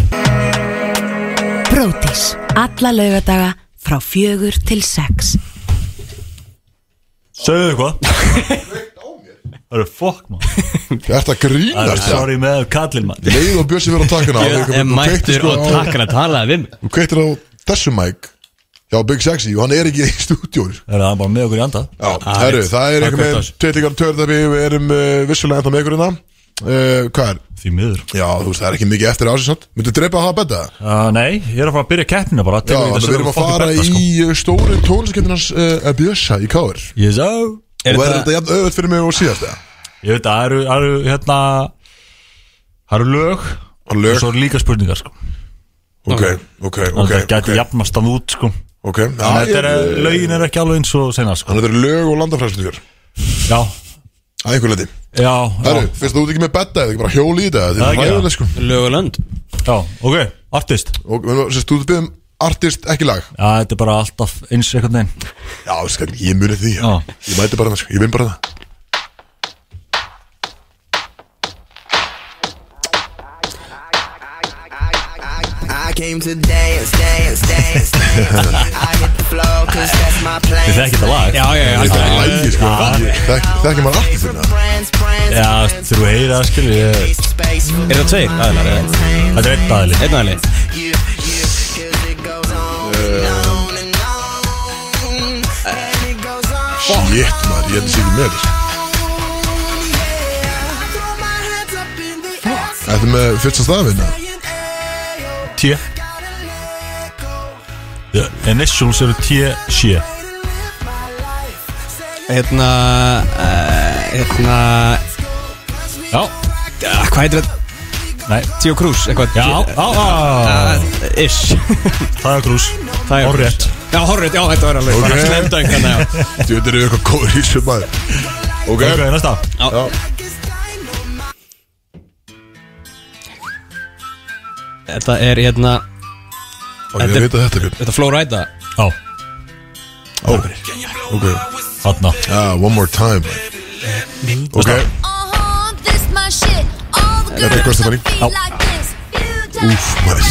Brótis. Alla laugadaga frá fjögur til sex. Sögðu eitthvað Það eru fokk maður Þetta Það grínast eru það sorry með kallinn maður Leið og Björsi verið á takkuna sko- Ég er mættur og takkar að tala við mig Þú kveitir á þessu mæk Já, Big Sexy Og hann er ekki í stúdjónu Það eru það bara með okkur í anda Já, Ah, herru, rétt. það Það er er eitthvað gott með ás. Tveitlíkan törðabi, við erum uh, vissulega ennþá með ykkur innan uh, Hvað er? Því miður Já, þú veist, það er ekki mikið eftir ásins Myndu drepa að hafa betta? Uh, nei, ég er að fara að byrja keppnina bara Já, þannig að við erum að fara sko. í sko. uh, stóru tónlistakendinans uh, Björsa í Káur Og Yes, Er verður þetta þetta jafn auðvitað fyrir mig og síðast eða? Ég veit að það eru, það eru hérna Það eru lög Og lög. Og svo eru líka spurningar sko Ok, ok, okay, ok Það gæti ok, okay. jafnast hann út sko Ok, já, Þannig að ég- þetta er, eh, lögin er ekki alveg eins og sena sko Þannig að þetta eru lög og landafræðslingur Já, Að einhver leiti já, Herru, já, finnst þú ert ekki með betta eða ekki bara hjóli í þetta Þetta Það er er ekki hræðileg sko Lögulönd já, ok, artist Já, Og menn, sérst, þú ert byggðum artist, ekki lag þetta er bara alltaf eins einhvern veginn Já, skal, ég muni því já. Já. Ég mæti bara það, sko, ég vinn bara það I came to dance, dance, dance, dance. I hit the floor cause that's my plan. Þið þekkið þetta lag Já, já, já Það er algjörlega. lægi sko Ég- þekk- Þekkir maður artist hérna. þetta Friends, friends, Já, þú heyrið það skil ég... space for Er það tveir aðlar? eða? Þetta er einn aðli Einn aðli? you, you, cause it goes on and on and on. And it goes on. Shit maður, ég held að sé ekki með þetta sko. Yeah. I throw my hands up in the air, Þetta er með fyrsta hérna? staðvinna saying, "Ayo, T gotta let go, The Initials eru T-C live my life." Saying, Hérna eh, Hérna Já, ah, Hvað heitir þetta? nei Tíu Krús eitthvað Já, já, já Eh, Ish Það er grús Það er Orrétt. Já, horrið, já, þetta var alveg Ok. okay. Slemdöng hérna, já Þú veit, þetta eru eitthvað góður í þessu maður Ok, Ok, næsta Þetta er hérna ok, ég veit að þetta er hérna. björn Þetta Flow Rida Já, Ó, Ok, þarna ah, one more time maður. Ok, Uh-huh, Þetta er Gustafari Já. Úf, maður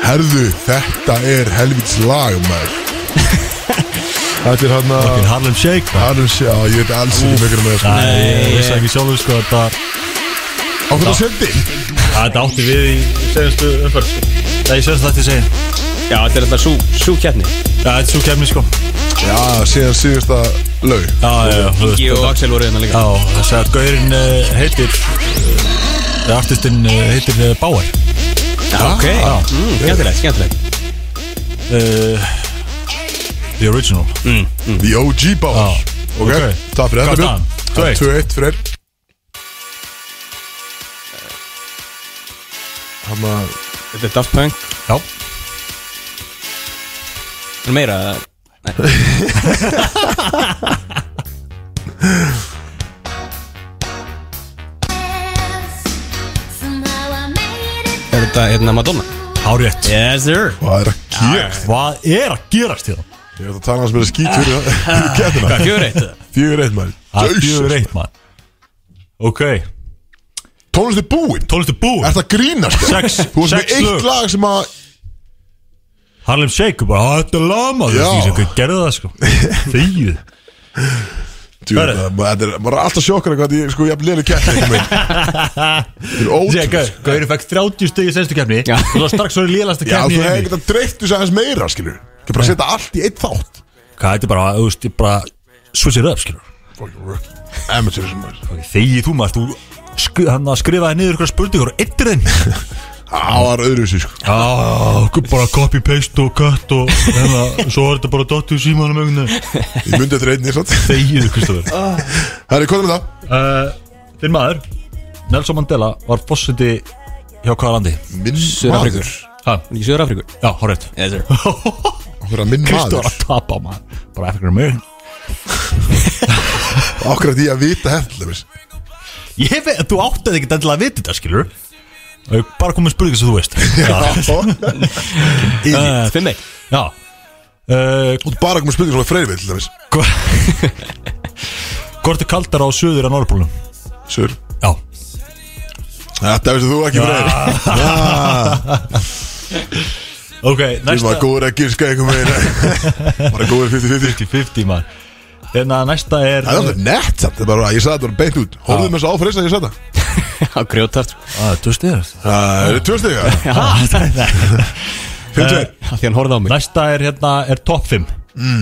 herðu, þetta er helvits lag maður Þetta er hann Fucking að Harlem Shake man. Hann sé, já, ég veit alls ekki mikil með það sko. Nei, ég vissi ekki sjálfur sko að þetta Á hvernig sendi? að Þetta átti við í senstu umferð sko. Nei, ég senstu þetta ég segi Já, Já, þetta er alltaf sú, sú kjarni þetta er svo kemni sko Já, Já, síðan síðasta lög já, já þú veist, Ég og þetta- Axel voru hérna líka Já, þess að gaurinn eh, heitir eh, Artistinn eh, heitir eh, Bauer Já, ok Já. Mm, Skemmtilegt, skemmtilegt Eh, The Original Mm. The OG Báðar Ok, ok. takk fyrir þetta Hvað staðan? björn 2-1. 2-1 fyrir þér. Hann að Þetta er Daft Punk Já, Er meira eða? Er þetta hérna Madonna? hárétt Yes, sir Hvað er að gera? Hvað er að gerast hérna? Ég ætla að tala hans með skýt fyrir fyrir keppnina. Hvað, 4-1? 4-1 maður Ha, Jesus, 4-1, maður Ok Tónlist er búinn Tónlist er búinn Er það grínast? Sex- Þú veist með sex eitt lög. lag sem að Harlem Shake bara, "Ah, þetta er lama Þú Já. veist ekki hvað gerði það sko Þegið Djú, Herru. það- Þetta er bara alltaf sjokkar hvað ég sko ég hef liðið keppni einhvern veginn. Þetta er ótrúlega Gauri fekk 30 stig í senstu keppni og það var strax svo lélægsta Já, þú keppni í hefði heimi getað dreift þessu aðeins meira, skilur Ekki bara setja allt í eitt þátt Hvað, þetta er bara, þú veist, ég bara Switch it up, skilur Amateur sem maður Þegið þú maður, þú skri, hann að skrifaði niður ykkur spurningur og eittir þeim Það var öðruvísi, sko Já, okkur bara copy, paste og cut og hérna, svo var þetta bara dottu í símanum einhvern Ég myndi eftir einni, satt Þegið, Kristofur Herri, hvað er með það? uh, Þinn maður, Nelson Mandela var fósiti hjá hvaða landi? Minn Suðurafríkur. maður Ha, Í Söður Afríku já, horrið Yes sir Okkur að minn Kristóð var maður að tapa maður Bara African American Okkur að því að vita hefnilega Ég veit, þú áttið ekki endilega að vita þetta, skilur Ég bara komið spurningar sem þú veist Þú Eh, Fimm eitt Já uh, ert bara komið spurningar sem er freyri við, til dæmis Hvort er kaldara á söður en orðbúlum? Sör Já Þetta veist þú ekki freyri Ok, Þú næsta var góður að gíska einhver megin Bara góður 50-50 50-50 maður Hérna, næsta er Það er alveg nett samt, það er bara að ég sagði þetta var beint út Hóruðum þessu áfreyst að ég sagði þetta Á grjótart Ah, þú veist þér Það eru tvö stiga Fyrir tveir Eh, Því hann horfði á mig Næsta er hérna, er top 5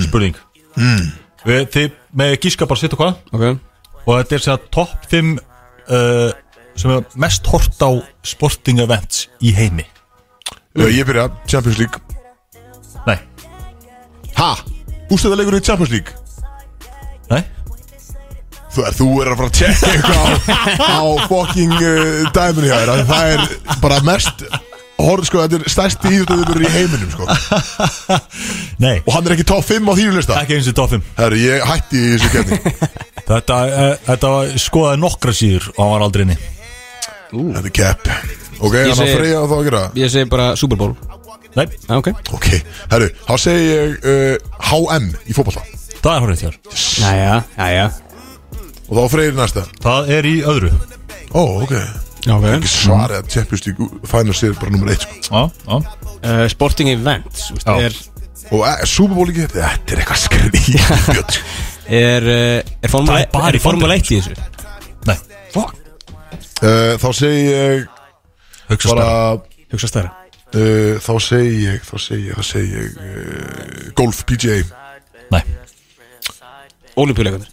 Spurning mm. Við, Þið með gíska bara setja hvað Ok Og þetta er sem að top 5 uh, Sem er mest hort á sporting events í heimi Já, Ég byrja Champions League Nei, Ha? Ústöða leikur í Champions League nei Þú, þú er að fara að tjekka eitthvað á, á fucking uh, dæminu hjá þér af því Það er bara mest Hor, sko, þetta er stærsti íþjóttöður í heiminum sko. og Nei, hann er ekki top 5 á þínu lista ekki eins og top 5 Herru, ég hætti í þessu kefni Þetta, uh, þetta var, skoðaði nokkra síður og hann var aldrei inni Þetta er kepp Ok, hann að segi- freyja og þá að gera Ég segi bara Super Bowl Nei, Já, Ok Ok, herru, þá segi ég uh, HM í fótballa það er horrið þér Jæja Jæja og þá freyri næsta Það er í öðru Ó, ok, Ok ekki svarið að Champions League Finals er bara nummer 1 sko. Já, já uh, Sporting events veist, Já. Er, og e, Super Bowl ekki, þetta er eitthvað sko. er, skrýt uh, er Það formule, er bara í er formule 1 í þessu Nei, fuck uh, þá segi ég Hugsa bara bara... Hugsa stærra uh, þá segi ég þá segi ég, þá segi ég uh, golf, PGA Nei, Olympiuleikunir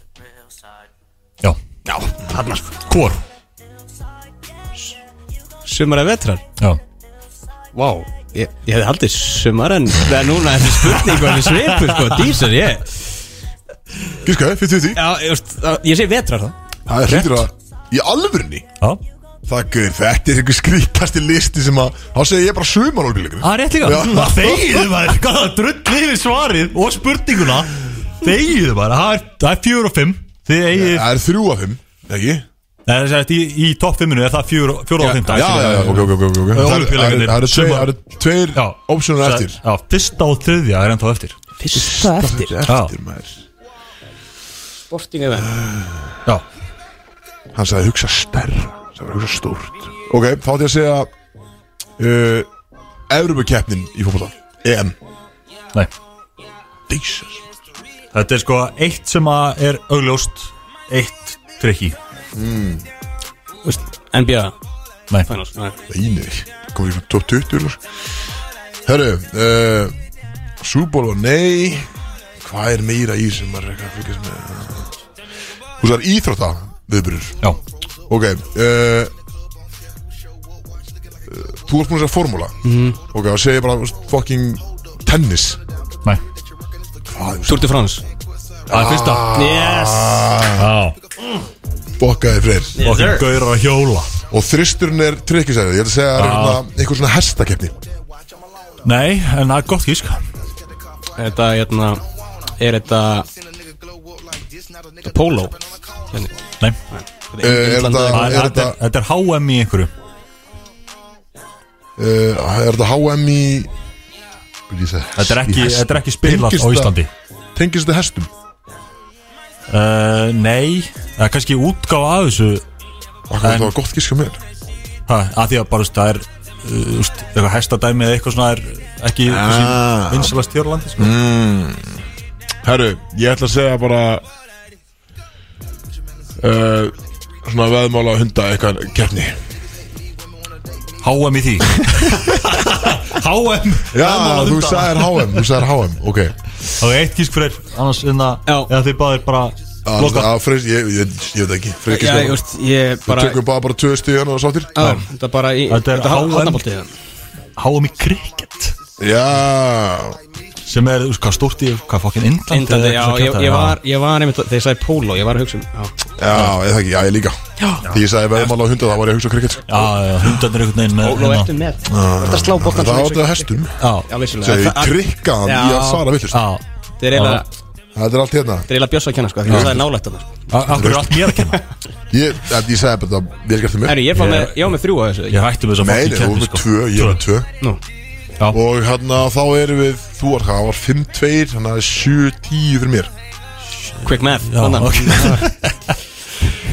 já Já, hann Hvor? Sumar eða vetrar Já Vá wow. ég, ég hefði haldið sumar en Það er núna þessi spurning og þessi svipur sko Dísar ég Gískaði, fyrir því Já, ég, veist, það- ég segi vetrar þá það er hlýtur að í alvörni Já það guður, þetta er einhver skrýtasti listi sem að þá segi ég bara sumar olbíleikur Ah, Það er rétt líka Já. Það þegiðu maður, hvað það drull yfir svarið og spurninguna Þegiðu maður, það er- það er fjör og fimm Þið eigið það er þrjú af þeim, ekki? Nei, það er sagt í, í topp fimminu er það fjör og fjóra og fimmta Já, já, já, ok, ok, ok, ok Það eru- það eru- það eru tveir- það eru tveir Já. opsjónar eftir Já, fyrsta og þriðja er ennþá eftir Fyrsta eftir Eftir maður Sporting event Já, Hann sagði hugsa stærra Það var hugsa stórt Ok, þá ætti ég að segja uh, Evrubukeppnin í fólkvölda EM nei Jesus Þetta er sko eitt sem að er augljóst Eitt trikki veist, NBA Nei, Finals Nei. Nei, nei Komum við í top 20 úr Herru uh, Súból og nei Hvað er meira í sem maður er eitthvað að fylgjast með uh. Þú sagði íþrótta viðbyrjur já, Ok uh, Þú varst búin að segja formúla mm. Ok, þá segja ég bara fucking tennis nei Hvað er Tour de France Það er fyrsta Ah. Yes Já, Bokkaði freyr og þeim gaurar að hjóla Og þristurinn er tryggisæðið, ég ætla að segja að það er hérna einhver svona hestakeppni Nei, en það er gott gísk Þetta, hérna Er þetta þetta Polo Hérna. Nei, Eh, Er þetta, það er er, þetta, þetta, þetta er HM í einhverju eh, er þetta HM í Lýsa Þetta er ekki- í hestum. þetta er ekki spilað á Tengist það- Íslandi. Tengist þetta hestum? Uh, nei, það er kannski útgáfa af þessu Akkur það var gott gíska mér ha, að Því að bara, þú veist, það er uh, úst, eitthvað hestadæmi eða eitthvað svona er ekki Ah. vinsalast hér á landi sko. mm. Herru, ég ætla að segja bara uh, Svona veðmála hunda eitthvað keppni HM í því HM Já, þú sagðir HM, þú sagðir HM, ok Það er eitt gísk fyrir annars inna, eða þið báðir bara Loka loka að freyr, ég, ég, ég veit ekki Freyr Já, ég ekki veist, ég Við bara tökum bara bara tvö stíðan og sáttir Já, Þetta er hérna. bara í Þetta er HM. hátnaboltið HM í cricket Já sem er, þú veist, hvað stórt í hvað fokkin Indland Indandi, eða já, eitthvað svona ég, kjaftaði, ég, var, ég var einmitt Þegar ég sagði póló, ég var að hugsa um já. Já, eða ekki, já, ég líka Því ég sagði veðmála hunda, þá var ég að hugsa um sko. krikett Já, já, hundarnir einhvern veginn með Póló hérna. ertu með Þetta slá bóttan Það áttu að hestum Já, um- Já, vissulega Segði, Það- það- krikkaðan í að Já. fara villust já Þetta er eiginlega Þetta er allt hérna Þetta er eiginlega bjössa að kenna sko Því það er nálægt að það Akkur er allt mér að kenna Ég, en ég sagði bara, það vel gert þið mér Herru, ég fá með, ég var með þrjú að þessu Ég hætti með þess að Nei, nei, þú erum kenni með tvö, ég er með tvö Nú, Og hérna, þá erum við, þú var hvað, það var 5-2 Þannig að 7-10 fyrir mér quick math Já, þarna. ok.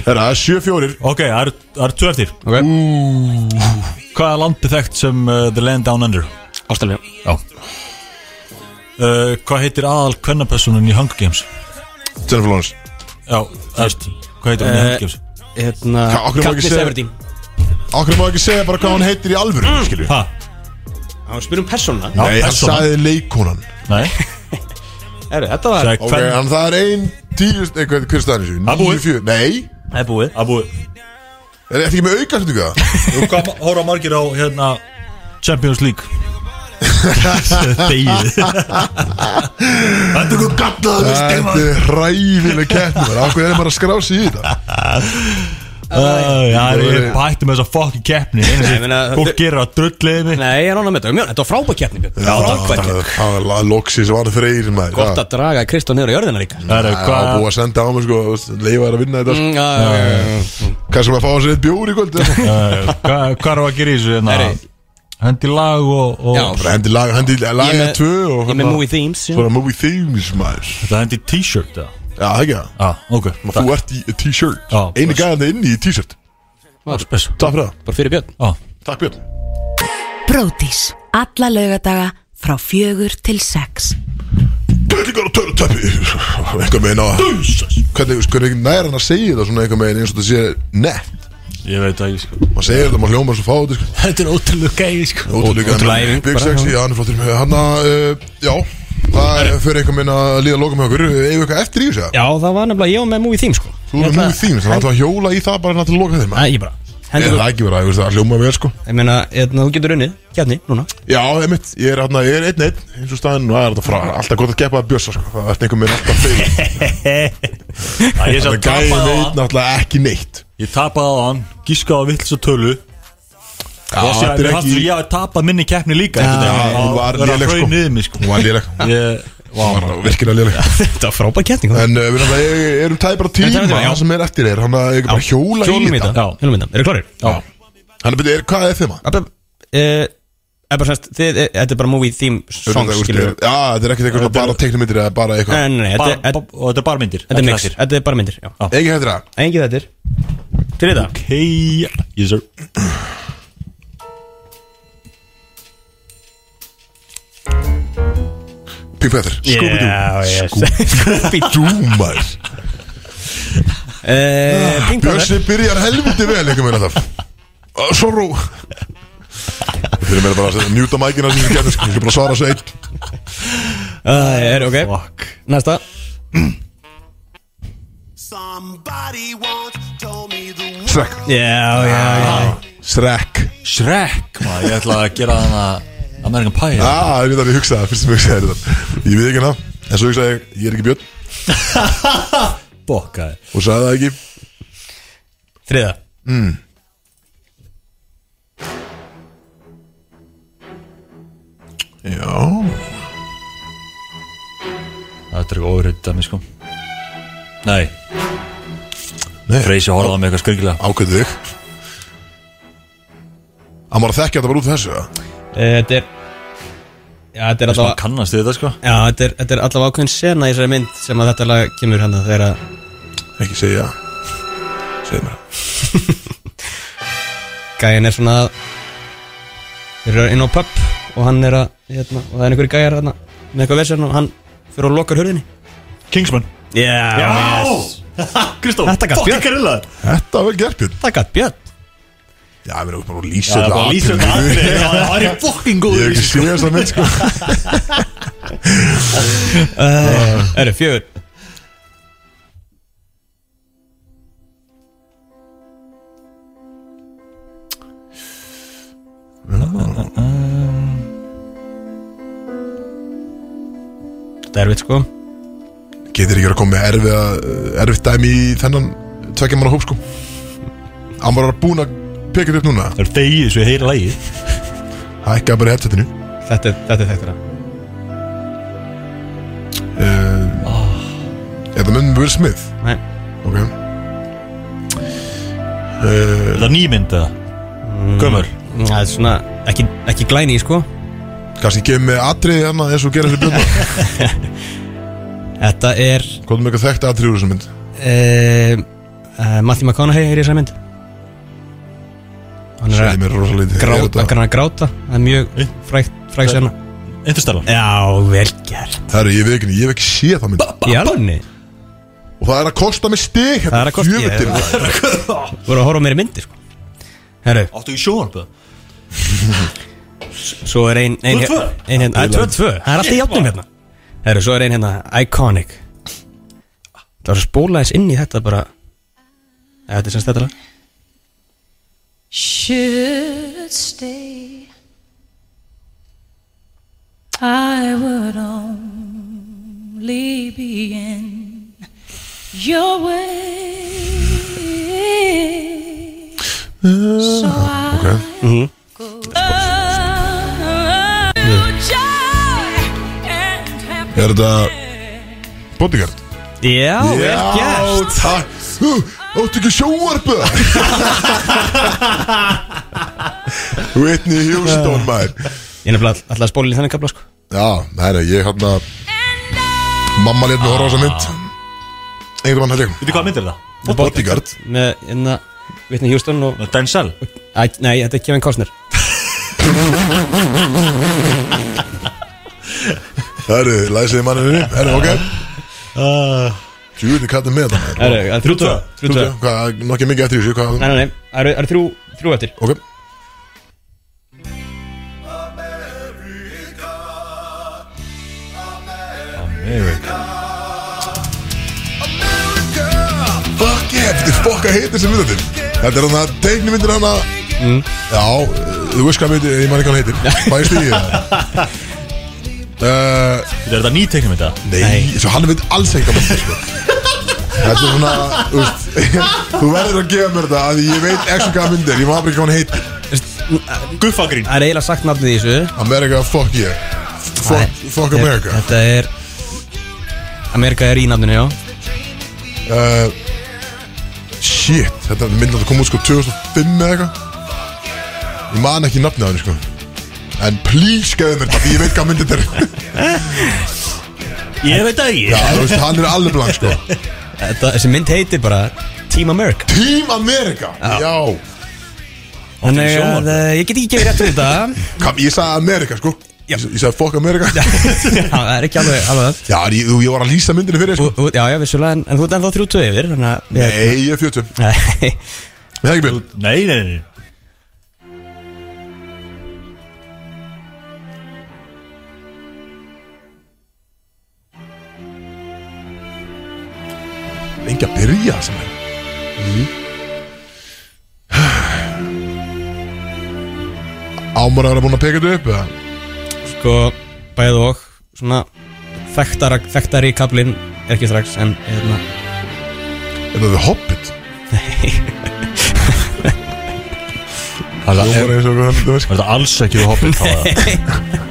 Herra, 7-4 Ok, það eru- það eru tvö eftir Ok. Hvað er landið þekkt sem uh, The Land Down Under? Ástralja Já uh, Hvað heitir aðal kvennapersonun í Hunger Games? Jennifer Lawrence Já, eftir Hvað heitir hún í Eh, Hunger Games? Hérna Hvað, okkur má ekki Katniss segja- Everdeen Akkur má ekki segja bara hvað hann heitir í alvöru, mm. skilju Ha? Það var spyrum persóna Já, Nei, hann persóna. sagði leikonan Nei, Herru, þetta var sagði Ok, hvern hann það er ein tíu, nei, hvað hver staðan þessu? Það er búið. Níu, fjö- Nei, Það er búið Það er búið er þetta ekki með auka sem það? Þú kom að hóra margir á hérna Champions League Þegið Þetta er hvað gallaður við Þetta stemma er hræfileg keppni maður. Akkur er maður að skrá sig í þetta? Já, ég bætti með þessa fokkin keppni Einu Nei, sem ég meina, Fólk þau- gerir að drullið mig Nei, ég er ánað með þetta Mjörn, Þetta var frábæk keppni Björn. Frábær það keppni. er- það er la- loksins var það freyr maður Gott að draga Kristó niður á jörðina líka Það er Það var hvað búið að senda á mig sko Leifa þær að vinna þetta Mm, já, já, já, já, já. Kanski maður fá sér eitt bjór í kvöld eða eitthvað. Eh, Hvað hvað er að gera í þessu hérna? Herri. Hendi lag og, og Já. Bara Hendi lag, hendi Ég laga með- tvö og Ég hérna- er með movie themes já. Svona movie themes maður Þetta hendi t-shirt eða? Já, það ekki það Já, ok Og Þú ert í t-shirt Já, Einu bless. gæðan inni í t-shirt Spes Ah, Takk fyrir það Bara fyrir Björn Já Takk Björn Bródís. Alla laugadaga frá fjögur til sex. Bölingar og tölutöppi Einhver megin á Hvernig, hvernig nær hann að segja það svona einhver megin eins og það sé nett Ég veit það ekki sko Maður segir þetta, maður hljómar svo fáið sko. Þetta er ótrúlega gæði sko Ótrúlega ótrúlega gaman. æfing Big bara, Sexy, já, hann er flottur Hanna, uh, já Það er fyrir einhver megin að líða lokum hjá okkur Eigum eitthvað eftir í þessu eða? Já, það var nefnilega Ég var með movie themes sko Þú erum mjög þín, þannig að það hjóla í það bara hérna til að loka þeim eh? Nei, ég bara Er Hendur það ekki verið, þú veist, það hljóma vel sko Ég meina, hérna, þú getur unnið Keppni, núna Já, einmitt, ég er hérna, ég er einn einn eins og staðinn og það er þetta frá, alltaf gott að gefa að bjösa sko, það er einhver minn alltaf fyrir Ég Það sem gæði tapaði á veit hann náttúrulega ekki neitt Ég tapaði á hann Gískaði á vittlis og tölu Já, og þetta sér er að ekki- ég hafi tapað minni keppni líka einhvern Já, veginn. hún Og var vera léleg, sko. hraun niður mig sko Hún var léleg, Ég hún var virkilega léleg Þetta var frábær keppni En uh, við náttúrulega ég- erum tæði bara tíma, Erum tæpir tíma, já. það sem er eftir er, hann að ég bara hjóla í Hjólum í þetta þetta Hjólum í þetta Eru klarir? Já. Hann er betur, er- hvað er þeim að? Það er bara eh, semst þið- eh, Þetta er bara movie theme song skilur Já, þetta er ekkert eitthvað svona bara teknumindir eða bara eitthvað Nei, nei, nei, þetta bara- er- þetta- Og þetta er bara myndir þetta er mix Þetta er bara myndir já. Ekki hættir það Engi þettir Til þetta Hei Yes sir Pink Panther, Scooby-Doo Dúmar Scooby-Doo Eh, Pink Panther Bjössi byrjar helviti vel einhver meina það Sorró Þeir eru meira bara að mjúta mækina sem ég getur sko, ég skal bara svara svo einn Það Ah, er ok Fuck Næsta Somebody once told me the word. Shrek Já, já, já Shrek Shrek maður, Ég ætlaði að gera þann að American Pie Já, Ah, það er þetta að ég hugsaði, fyrst sem ég hugsaði þetta Ég veit ekki hana, en svo hugsaði ég, ég er ekki björn Bokkaði Og sagði það ekki Þriða Já Þetta er eitthvað óriðt að mér sko Nei, Nei, Freysi horfði á mig eitthvað skryggilega ákveðu þig Hann var að þekkja þetta bara út af þessu eða? Þetta er Eh, Já, þetta er Þess að allavega maður kannast við þetta sko Já, þetta er, þetta er allavega ákveðin sena í þessari mynd sem að þetta lag kemur hann að þeirra Ekki segja Segð mér Gæin er svona að Þeir eru inn á pub og hann er að hérna, og það er einhverju gæjar hérna, með eitthvað versen og hann fyrir og lokar hurðinni Kingsman Já, Já! yes. Kristó, Þetta gat fucking Björn. grilla Þetta var vel gert Björn Það gætt björn Já, við erum bara að Já, lýsa það var lýsum þetta aðrið Það er fucking Ég góð hef ekki lýsing séð þess að mynd sko Það eru fjögur Þetta er erfitt sko Getur ekki verið að koma með erfiða, erfitt dæmi í þennan tvekkja manna hóp sko Hann var búinn að peka þetta upp núna Það er degið svo ég heyri lagi Hækka bara í headsetinu Þetta er, þetta er þekktara uh, Er það myndum Will Smith? Nei, Ok uh, Það er nýmynd eða Gömur það er svona ekki, ekki glæni sko Kanski gefum við atriði hérna eins og gera þessi björna Þetta er Hvað er mjög þekkt atriði úr þessu mynd? uh, uh, Matthew McConaughey er í þessari mynd Hann er Segði að mér rosa lítið Er gráta, þetta- hann er að gráta Það er mjög Eh? frækt, frækt sérna Interstellar Já, vel gert Herru, ég veit ekki, ég hef ekki séð það mynd Í alvegni Og það er að kosta mig stig hérna, Það er að kosta- Jöfullinn. ég- Voru að horfa á mér í myndi sko Herru, Áttu ekki sjónarpöð svo er ein ein, Tvö, tvö. ein hérna, tvö, tvö Það er alltaf í játnum hérna Herru, svo er ein hérna, Iconic Það var að spóla eins inn í þetta bara Eða þetta er semst þetta lag Should stay. I would only be in your way. So I Er þetta Bodyguard? Já, vel gert takk Hú, Áttu ekki sjóarbu Whitney Houston maður Ég er nefnilega alltaf að spóla í þannig kapla sko Já, það er ég hann að Mamma létt mig horfa á þessa mynd Einhvern mann held ég Veitu hvað mynd er það? Bodyguard Með hérna Vitni Hjústun og Denzel Æ, Nei, þetta er Kevin Costner Herru, læsiði manninu Herru, ok Ah. Tjúðin, hvað er með það maður? Herru, Það er þrjú tvö Þrjú tvö Hvað, nokkið mikið eftir þessu Hvað, Nei, nei, nei Það eru- það eru þrjú Þrjú eftir ok Fuck yeah, þetta er fokka heitir sem myndir Þetta er hann að teikni myndir hann að Já, þú veist hvað myndir, ég man ekki hvað hann heitir Bæðist í það Uh, Er þetta nýteknum þetta? nei, svo hann veit alls ekki hvað myndir sko. Þetta er svona, þú veist Þú verður að gefa mér þetta af því ég veit ekki hvað myndir, ég maður ekki hvað hann heitir Guffagrín Það er eiginlega sagt nafnið í þessu America, fuck yeah Fuck, fuck America Þetta er Amerika er í nafninu, já uh, Shit, þetta er myndin að koma út sko 2005 eða eitthvað Ég man ekki nafnið á henni sko En please gefðu mér þetta, því ég veit hvað myndin þetta er Ég veit það ekki Já, þú veist, hann er alveg blank sko Þetta, þessi mynd heitir bara Team America Team America, já Þannig sjónvarp. að eh, ég get ekki gefið rétt fyrir þetta Kam, Ég sagði America sko Ég, ég sagði fuck America Já, Já, það er ekki alveg, alveg það en ég, ég var að lýsa myndinu fyrir sko Og- og- Já, já, vissulega, en, en þú ert ennþá þrjú tvö yfir Þannig að Nei, ég er 40 Nei Ég hef ekki byrð Nei, nei, nei Lengi að byrja sem er Mhm. Ámar að vera búin að peka þetta upp eða? sko bæð og svona þekktar, þekktar í kaplinn er ekki strax en hérna Er það The Hobbit? Var Hljómar eins og hann, þú veist þetta alls ekki við hoppið þá eða?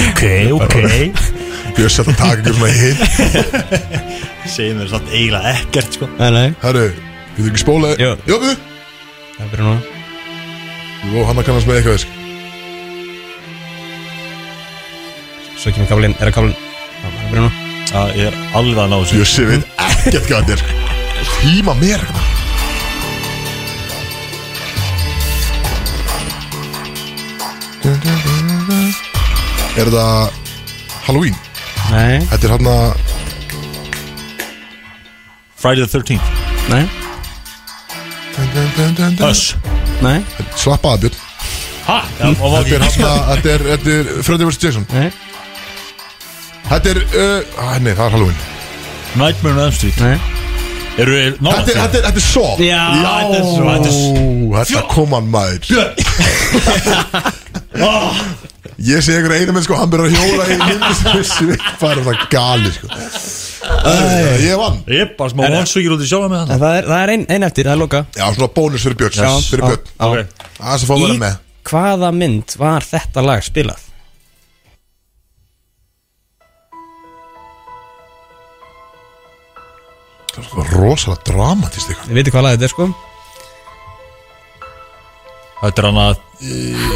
Ok, ok Björs þetta að taka ykkur svona hinn Segir mér samt eiginlega ekkert sko Nei, nei, Herru, getur ekki spólað Jú. Jó, við það byrja núna Jú, hann að kannast með eitthvað þess svo kemur kaflinn, er að kaflinn að bruna að ég er alveg að ná þessu Jussi veit ekkert hvað þetta er Tíma mér hérna. Er það Halloween? Nei Þetta er hérna- hann að Friday the 13th Nei, Öss nei, Slappa að björn Ha? Já, og var Þetta er ekki hann að Þetta er, þetta er Freddy vs. Jason nei, Þetta er uh, ah, Nei, það er Halloween Nightmare on Elm Street nei Eru við nála Þetta er, þetta er, þetta er Saw Já, þetta er Saw. þetta er Þetta kom hann maður Ég sé einhverja einu menn sko Hann byrjar að hjóla í myndi sem er svipar Það er gali sko Æ, Ég vann Ég er bara smá vansugir út í sjáða með En Það er, það er ein, ein eftir, það er loka Já, svona bónus fyrir Björn Fyrir Björn á, á. hann Það sem fá að vera Í með hvaða mynd var þetta lag spilað? Það var Sko, rosalega dramatist eitthvað Þið veitir hvað lag þetta er sko? Þetta er hann að eh,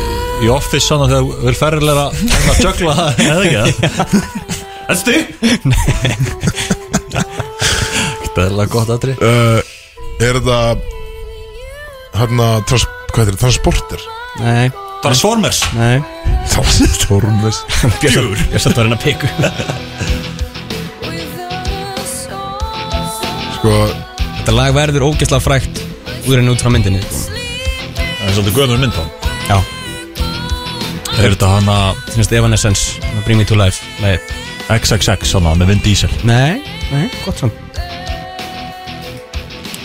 Í office hann að þegar Vil ferrilega að jökla það Eða ekki það Þetta stu Þetta er alveg gott aðri Eh, uh, Er það Hanna, trans, hvað er það, transporter Nei, Transformers nei Transformers Björn, ég satt að reyna að piku Sko, Þetta lag verður ógeðslega frækt úr en út frá myndinni sko. Það er svolítið gömur mynd þá Já, Er þetta hann að finnst Evanescence með Bring Me To Life lagið. XXX hann að með Vin Diesel Nei, nei, gott samt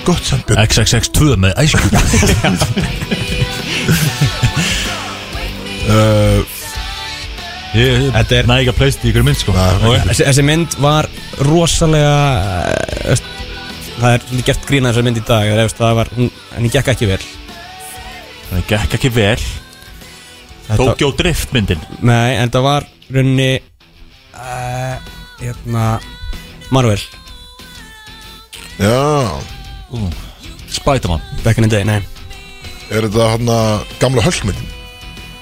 gott samt Björn XXX2 með Ice Cube uh, Ég Þetta er- næ ekki Eh, að pleist í ykkur mynd sko Nei, Og- þessi, þessi mynd var rosalega eh, veist, Það er svolítið gert grína þessar mynd í dag eða, veist, það var, hún, En hún gekk ekki vel Það gekk ekki vel Tokyo Drift myndin Nei, en það var runni uh, Hérna Marvel, Já, Spiderman back in the day, nei er það hanna gamla höllmyndin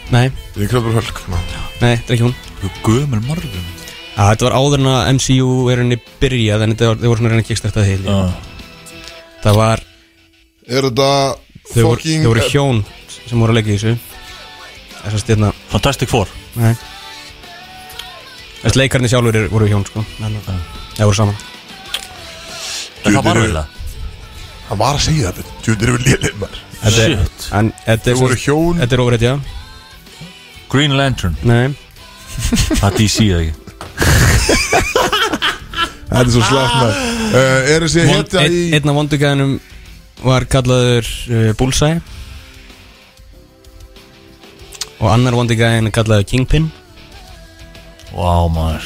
Nei, Incredible Hulk ná. nei, þetta er ekki hún Gömur margum Já, þetta var áður en að MCU er henni byrjað en þetta var, þau voru svona að reyna að kickstarta því uh. Það var, Er það þau voru, fucking þau voru hjón sem voru að leika í þessu Þess að stjórna, Fantastic Four nei Þess leikarnir sjálfur eru- voru hjón, sko Þannig að Það voru saman Jú, En það var þeir eru- vel Hann var að segja þetta Þú erum við liðið maður Þetta er- Shit. En þetta er Þau voru svo- hjón Þetta er ofrætt, já Green Lantern Nei, Það DC eða ekki Þetta er svo slapp maður uh, Er þessi Von, hetja ein, í Einn af vondugæðinum var kallaður uh, Bullseye Og annar vondugæðin er kallaður Kingpin Vá maður